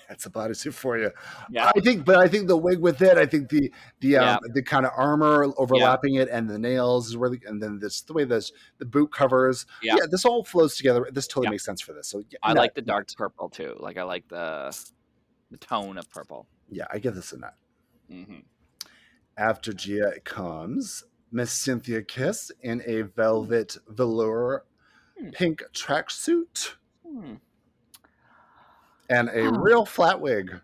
That's a bodysuit for you. yeah, I think, but I think the wig with it. I think the the um, Yeah. the kind of armor overlapping it and the nails is really, and then this the way this the boot covers. Yeah. this all flows together. This totally Yeah. makes sense for this. So yeah, I nut, like the nut. dark purple too. Like I like the the tone of purple. Yeah, I give this a nut. hmm After Gia comes Miss Cynthia Kiss in a velvet velour Hmm. pink tracksuit Hmm. and a Huh. real flat wig.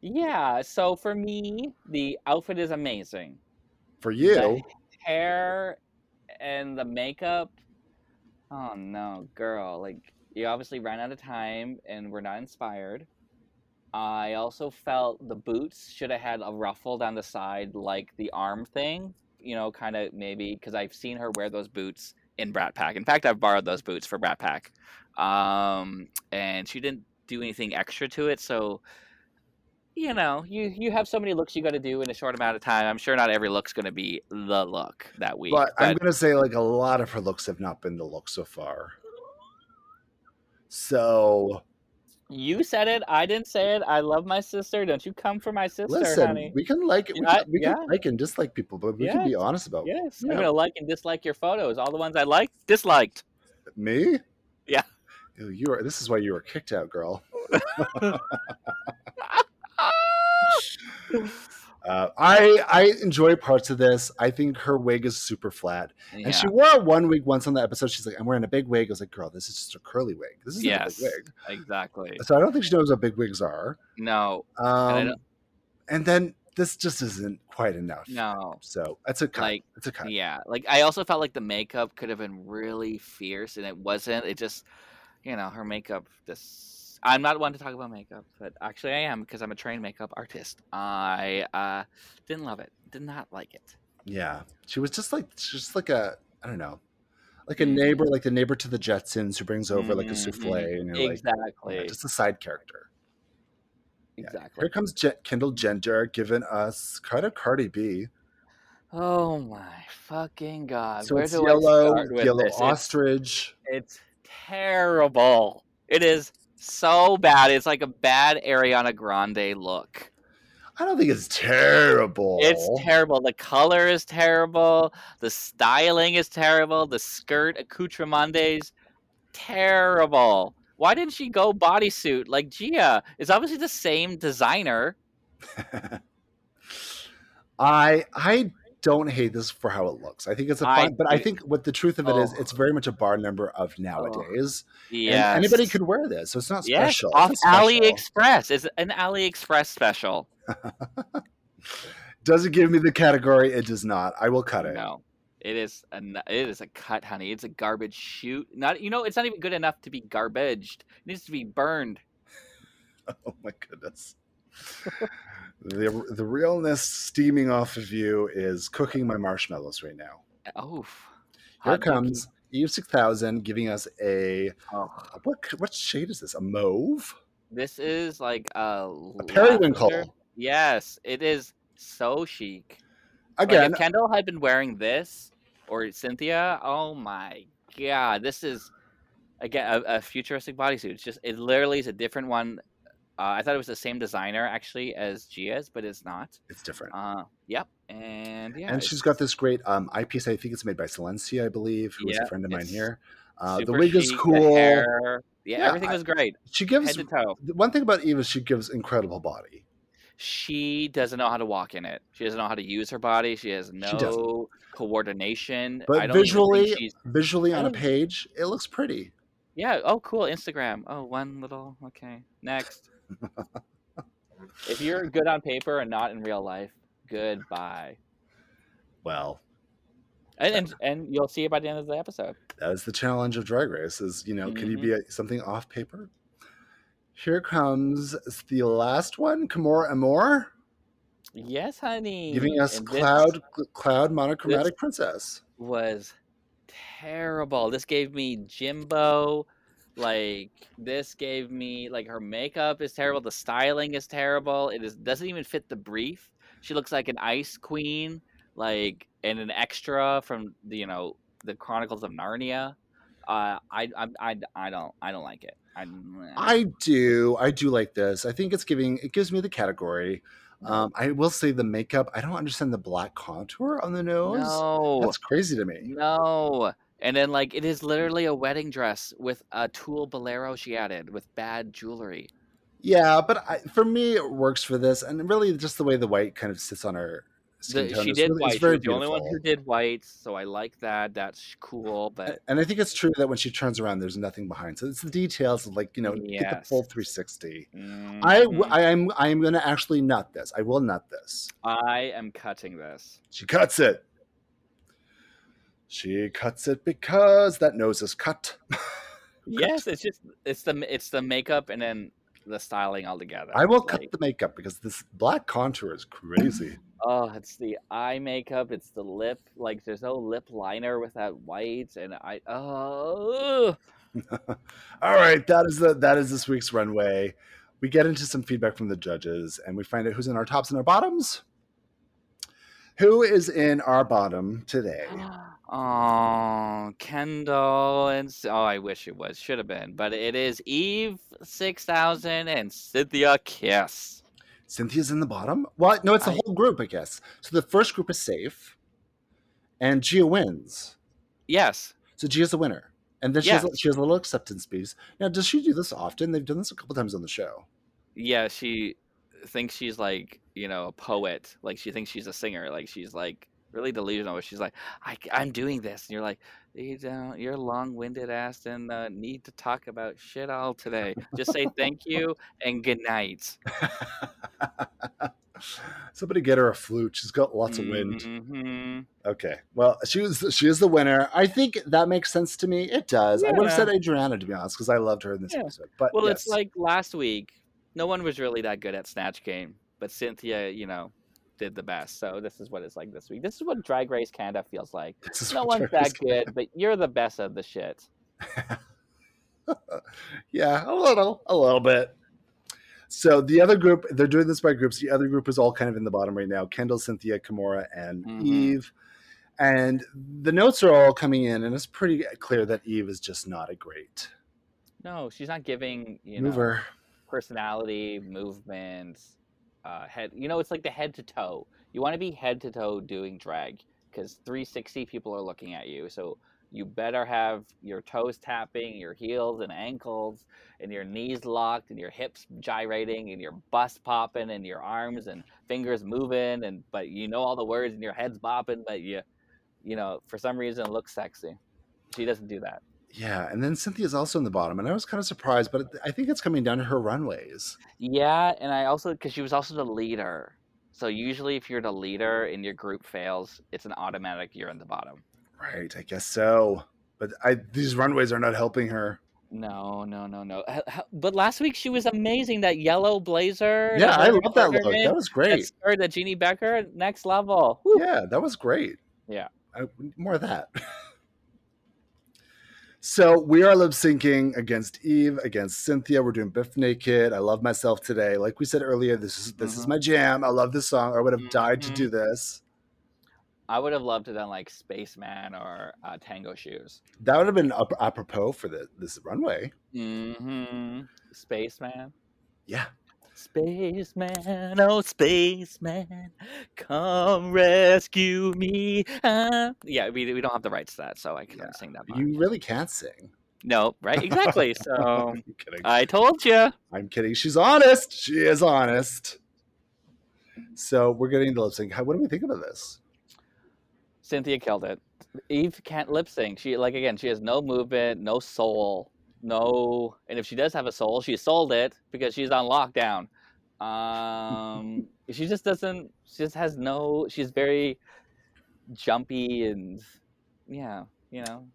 Yeah. So for me, the outfit is amazing. For you, The hair and the makeup. Oh no, girl! Like you obviously ran out of time and were not inspired. I also felt the boots should have had a ruffle down the side, like the arm thing. You know, kind of maybe because I've seen her wear those boots in Brat Pack. In fact, I've borrowed those boots for Brat Pack, um, and she didn't do anything extra to it. So, you know, you you have so many looks you got to do in a short amount of time. I'm sure not every look's going to be the look that week. but I'm but- gonna say like a lot of her looks have not been the look so far. So You said it. I didn't say it. I love my sister. Don't you come for my sister, listen, honey. we can like we, Yeah, can, we yeah. can like and dislike people, but we can be honest about Yes, yeah. I'm gonna like and dislike your photos. All the ones I liked, disliked. me. Yeah. Ew, you are. This is why you were kicked out, girl. Uh, I I enjoy parts of this. I think her wig is super flat, Yeah. and she wore one wig once on the episode. She's like, "I'm wearing a big wig." I was like, "Girl, this is just a curly wig. This is not a yes, big wig." exactly. So I don't think she knows what big wigs are. No, I Um, don't- and then this just isn't quite enough. no. So that's a cut. Like, it's a cut. Yeah, like I also felt like the makeup could have been really fierce, and it wasn't. It just, you know, her makeup. This I'm not one to talk about makeup, but actually I am because I'm a trained makeup artist. I uh, didn't love it. Did not like it. Yeah. She was just like she's just like a I don't know. Like Mm-hmm. a neighbor, like the neighbor to the Jetsons who brings over like a Mhm, souffle and you're exactly. like yeah, just a side character. yeah. exactly. Here comes Je- Kendall Jenner giving us kind of Cardi B. Oh my fucking god! so Uh, Where it's do I yellow, start with yellow this? It's- ostrich. It's terrible. It is so bad. It's like a bad Ariana Grande look. I don't think it's terrible. It's terrible. The color is terrible. The styling is terrible. The skirt accoutrements terrible. Why didn't she go bodysuit like Gia? It's obviously the same designer. I I don't hate this for how it looks. I think it's a fine, I- Oh. but I think what the truth of it is, Oh. it's very much a bar number of nowadays. And Yeah. anybody could wear this, so it's not Yeah, special. off It's not special. AliExpress. It's an AliExpress special. Does it give me the category? It does not. I will cut it. No, it is a n- it is a cut, honey. It's a garbage shoot. Not you know, it's not even good enough to be garbaged. It needs to be burned. Oh my goodness. the the realness steaming off of you is cooking my marshmallows right now. Oh, Here hot dog. comes Eve six thousand giving us a Oh, what what shade is this? A mauve? This is like a, periwinkle. lavender- Yes, it is so chic. Like, Again, if Kendall had been wearing this or Cynthia, oh my god, this is again a, a futuristic bodysuit. It's just it literally is a different one. Uh, I thought it was the same designer actually as Gia's, but it's not. it's different. Uh, yep, and yeah, and it's she's got this great um, eyepiece. I think it's made by Silencia, I believe, who is Yeah, a friend of mine it's here. Uh, the super wig is chic, the cool. hair- Yeah, Yeah, everything I- was great, She gives head to toe. the one thing about Eve is she gives incredible body. She doesn't know how to walk in it. She doesn't know how to use her body. She has doesn't. no coordination. But I don't even think visually- she's- Visually I on a don't- page, it looks pretty. Yeah. Oh, cool. Instagram. Oh, one little. Okay. Next. if you're good on paper and not in real life, goodbye. Well, And and, and you'll see it by the end of the episode. that is the challenge of Drag Race: is you know, can you Mm-hmm. be a, something off paper? Here comes the last one, Kimora Amor, Yes, honey. giving us Mm, And this Cloud Cloud Monochromatic Princess. was terrible. This gave me Jimbo. Like this gave me like her makeup is terrible. The styling is terrible. It is doesn't even fit the brief. She looks like an ice queen, like and an extra from the, you know the Chronicles of Narnia. Uh, I, I I I don't I don't like it. I, mm, I do. I do like this. I think it's giving. It gives me the category. Mm-hmm. Um, I will say the makeup. I don't understand the black contour on the nose. no. That's crazy to me. No. And then like it is literally a wedding dress with a tulle bolero she added with bad jewelry. Yeah, but I, for me, it works for this, and really just the way the white kind of sits on her skin The- tone. she is did really- white. it's She very was the only one who beautiful. did white, so I like that. That's sh- cool, A- but And I think it's true that when she turns around, there's nothing behind. So it's the details, of like you know, get the Yes. full 360. I w- mm-hmm, I am I am going to actually nut this. I will nut this. I am cutting this. She cuts it. She cuts it because that nose is cut. Yes, it's just it's the it's the makeup and then the styling altogether. I will It's cut like, the makeup because this black contour is crazy. Oh, it's the eye makeup, it's the lip. Like there's no lip liner with that white, and I oh All right, that is the that is this week's runway. We get into some feedback from the judges, and we find out who's in our tops and our bottoms. Who is in our bottom today? uh, Oh, Kendall and S- oh, I wish it was should have been, but it is Eve six thousand and Cynthia Kiss. Cynthia's in the bottom. Well, no, it's the I- whole group, I guess. So the first group is safe, and Gia wins. Yes, So Gia's the winner, and then she has a- she has a little acceptance speech. Now, does she do this often? They've done this a couple times on the show. yeah, she thinks she's like you know a poet, like she thinks she's a singer, like she's like really delusional. She's like, I, am doing this, and you're like, you don't, you're long-winded ass and uh, need to talk about shit all today. Just say thank you and good night. Somebody get her a flute. She's got lots of wind. Uh, Mhm. Okay. Well, she was she is the winner. I think that makes sense to me. It does. I would have Yeah. said Adriana to be honest because I loved her in this Yeah. episode. But Well, it's yes. like last week, no one was really that good at Snatch Game, but Cynthia, you know, did the best. So this is what it's like this week. This is what Drag Race Canada feels like. This is No what one's Drag Race that good, but you're the best of the shit. Yeah, a little, a little bit. So the other group, they're doing this by groups. The other group is all kind of in the bottom right now: Kendall, Cynthia, Kimora, and Mhm. Eve. And the notes are all coming in, and it's pretty clear that Eve is just not a great No, she's not giving you know mover. personality, movement, uh, head. You know, it's like the head to toe. You want to be head to toe doing drag because 360 people are looking at you. So you better have your toes tapping, your heels and ankles, and your knees locked, and your hips gyrating, and your bust popping, and your arms and fingers moving, and but you know all the words, and your head's bopping, but you, you know, for some reason, look sexy. She doesn't do that. Yeah, and then Cynthia's also in the bottom, and I was kind of surprised, but I think it's coming down to her runways. Yeah, and I also because she was also the leader. So usually, if you're the leader and your group fails, it's an automatic you're in the bottom. Right, I guess so. But I these runways are not helping her. No, no, no, no. H- h- But last week she was amazing. That yellow blazer. Yeah, that I leather love that look. betterment, That was that great. skirt, that Jeannie Becker, next level. Woo. Yeah, that was great. Yeah. I, more of that. so we are lip syncing against Eve, against Cynthia. We're doing Biff Naked. I love myself today. Like we said earlier, this is this is Mhm. my jam. I love this song. I would have died to Mhm. do this. I would have loved to done like Spaceman or uh, Tango Shoes. That would have been ap- apropos for the, this runway. Mm-hmm. Spaceman. Yeah. Spaceman, oh spaceman, come rescue me. Ah. Yeah, we, we don't have the rights to that, so I Yeah, can't sing that. part. You really can't sing. No, right? Exactly. So I'm kidding. I told you. I'm kidding. She's honest. She is honest. So we're getting the lip sync. How, what do we think about this? Cynthia killed it. Eve can't lip sync. She like again, she has no movement, no soul, no. And if she does have a soul, she sold it because she's on lockdown. Um, she just doesn't. She just has no. She's very jumpy and yeah, you know.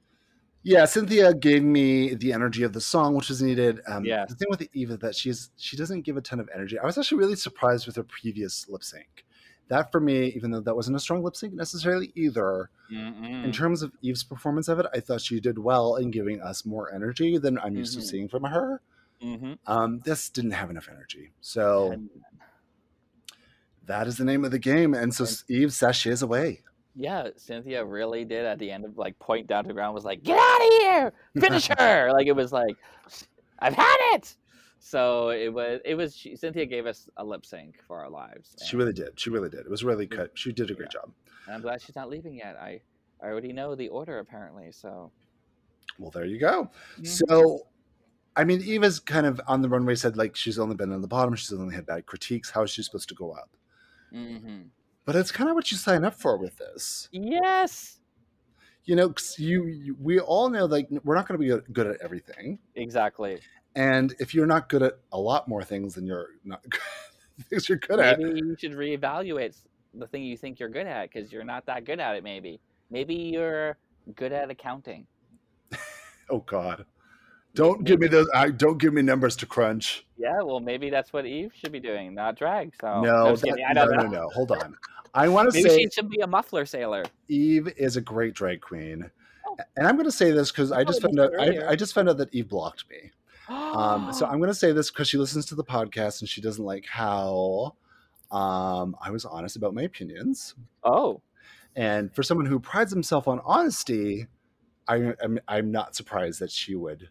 Yeah, Cynthia gave me the energy of the song, which is needed. Um, Yeah. The thing with Eve is that she's she doesn't give a ton of energy. I was actually really surprised with her previous lip sync. That for me, even though that wasn't a strong lip sync necessarily either, Mm. in terms of Eve's performance of it, I thought she did well in giving us more energy than I'm used Mhm. to seeing from her. Mm-hmm. Um, this didn't have enough energy, so that is the name of the game. And so Eve sashays away. Yeah, Cynthia really did at the end of like point down to the ground was like, "Get out of here! Finish her!" like it was like, "I've had it." So it was. It was. She, Cynthia gave us a lip sync for our lives. She and- really did. She really did. It was really good. She did a great job. And I'm glad she's not leaving yet. I, I already know the order apparently. So Well, there you go. Mhm. So, I mean, Eva's kind of on the runway said like she's only been on the bottom. She's only had bad critiques. How is she supposed to go up? Mhm. But it's kind of what you sign up for with this. yes, You know, 'cause you, you we all know like we're not going to be good- good at everything. exactly. And if you're not good at a lot more things than you're not things you're good at, Maybe you should reevaluate s- the thing you think you're good at because you're not that good at it. Maybe. Maybe you're good at accounting. oh god, don't give me those. I don't give me numbers to crunch. Yeah, well, maybe that's what Eve should be doing, not drag. So no, I'm just that- Oh, kidding. I don't no, know. no, no. Hold on. I want to Maybe say she should be a muffler sailor. Eve is a great drag queen. Oh. And I'm going to say this because You I just told found us out I, earlier. Oh. I just found out that Eve blocked me. Um, so I'm going to say this because she listens to the podcast and she doesn't like how um, I was honest about my opinions. oh, And for someone who prides himself on honesty, I, I'm I'm not surprised that she would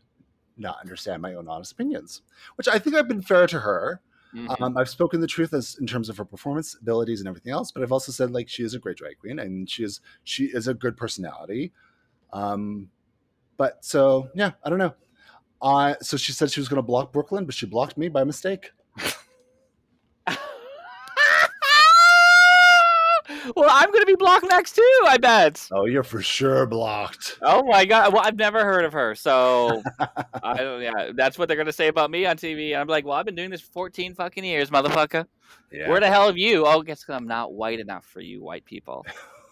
not understand my own honest opinions, which I think I've been fair to her. mhm. Um, I've spoken the truth as in terms of her performance abilities and everything else, but I've also said like she is a great drag queen and she is she is a good personality. Um, but so yeah, I don't know. I so she said she was going to block Brooklyn, but she blocked me by mistake. well, I'm gonna be blocked next too. I bet. Oh, you're for sure blocked. Oh my god! Well, I've never heard of her, so I don't. Yeah, that's what they're gonna say about me on TV. And I'm like, well, I've been doing this for 14 fucking years, motherfucker. Yeah. Where the hell have you? Oh, guess 'cause I'm not white enough for you, white people.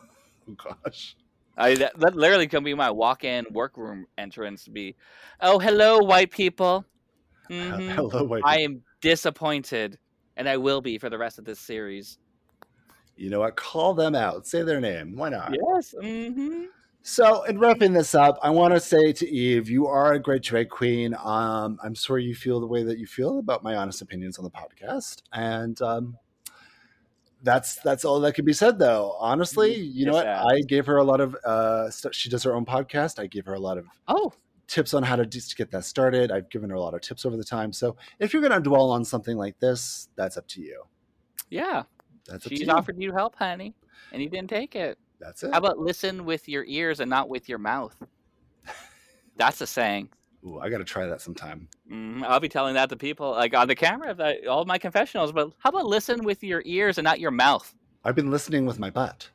oh gosh. I that, that literally can be my walk-in workroom entrance. Be, oh hello, white people. Mhm. Hello, white. I people. am disappointed, and I will be for the rest of this series. you know what? Call them out. Say their name. Why not? Yes. Mm-hmm. So, in wrapping this up, I want to say to Eve, you are a great drag queen. Um, I'm sorry you feel the way that you feel about my honest opinions on the podcast, and um, that's that's all that can be said. Though, honestly, you know what? It's sad. I gave her a lot of uh, stuff. She does her own podcast. I gave her a lot of Oh, tips on how to do, to get that started. I've given her a lot of tips over the time. So, if you're going to dwell on something like this, that's up to you. yeah. That's up to She's you. offered you help, honey, and you didn't take it. that's it. How about listen with your ears and not with your mouth? That's a saying. Ooh, I got to try that sometime. Mm, I'll be telling that to people like on the camera, if I, all my confessionals. But how about listen with your ears and not your mouth? I've been listening with my butt.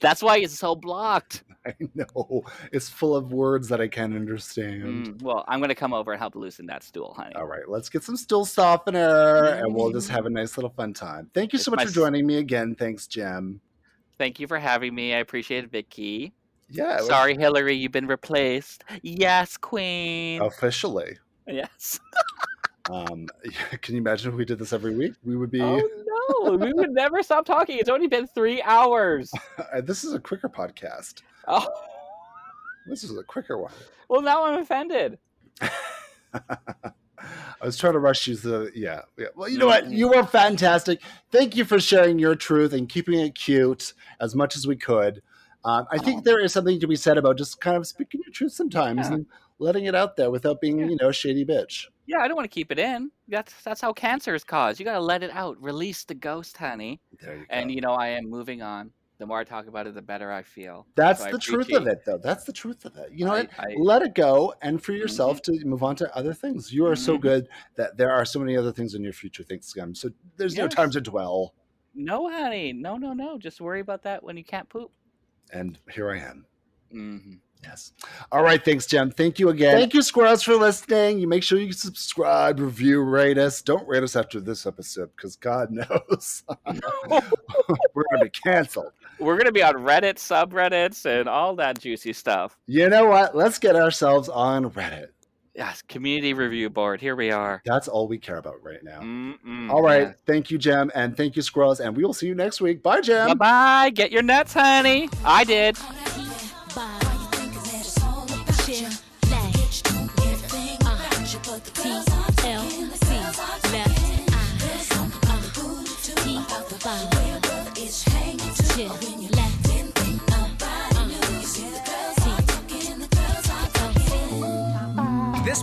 That's why it's so blocked. I know it's full of words that I can't understand. Mm, well, I'm gonna come over and help loosen that stool, honey. All right, let's get some stool softener and we'll just have a nice little fun time. Thank you so Mm. much It's my for s- joining me again. Thanks, Jim. Thank you for having me. I appreciate it, Vicky. Yeah, it was- Sorry, Hillary, you've been replaced. Yes, Queen. Oh. officially. Yes. Um, can you imagine if we did this every week? We would be. Oh no, we would never stop talking. It's only been three hours. uh, this is a quicker podcast. Oh, This is a quicker one. well, now I'm offended. I was trying to rush you to yeah, yeah. Well, you know Mm-hmm. what? You were fantastic. Thank you for sharing your truth and keeping it cute as much as we could. Um, I think there is something to be said about just kind of speaking your truth sometimes Yeah. and letting it out there without being, Yeah. you know, a shady bitch. Yeah, I don't want to keep it in. That's that's how cancer is caused. You gotta let it out. Release the ghost, honey. There you go. And you know, I am moving on. The more I talk about it, the better I feel. That's So I the truth appreciate- of it, though. That's the truth of it. You know I- what? I- Mm-hmm. Let it go, and for yourself to move on to other things. You are so Mhm. good that there are so many other things in your future. Thanks, Gum. So there's no Yes. time to dwell. no, honey, no, no, no. Just worry about that when you can't poop. And here I am. Mm-hmm. hmm Yes. All right. Thanks, Jem. Thank you again. Thank you, squirrels, for listening. You make sure you subscribe, review, rate us. Don't rate us after this episode because God knows we're going to be canceled. We're gonna be on Reddit, subreddits, and all that juicy stuff. You know what? Let's get ourselves on Reddit. Yes, community review board. Here we are. That's all we care about right now. Mm-mm. All right. Thank you, Jem. And thank you, squirrels. And we will see you next week. Bye, Jem. Bye bye. Get your nuts, honey. I did. This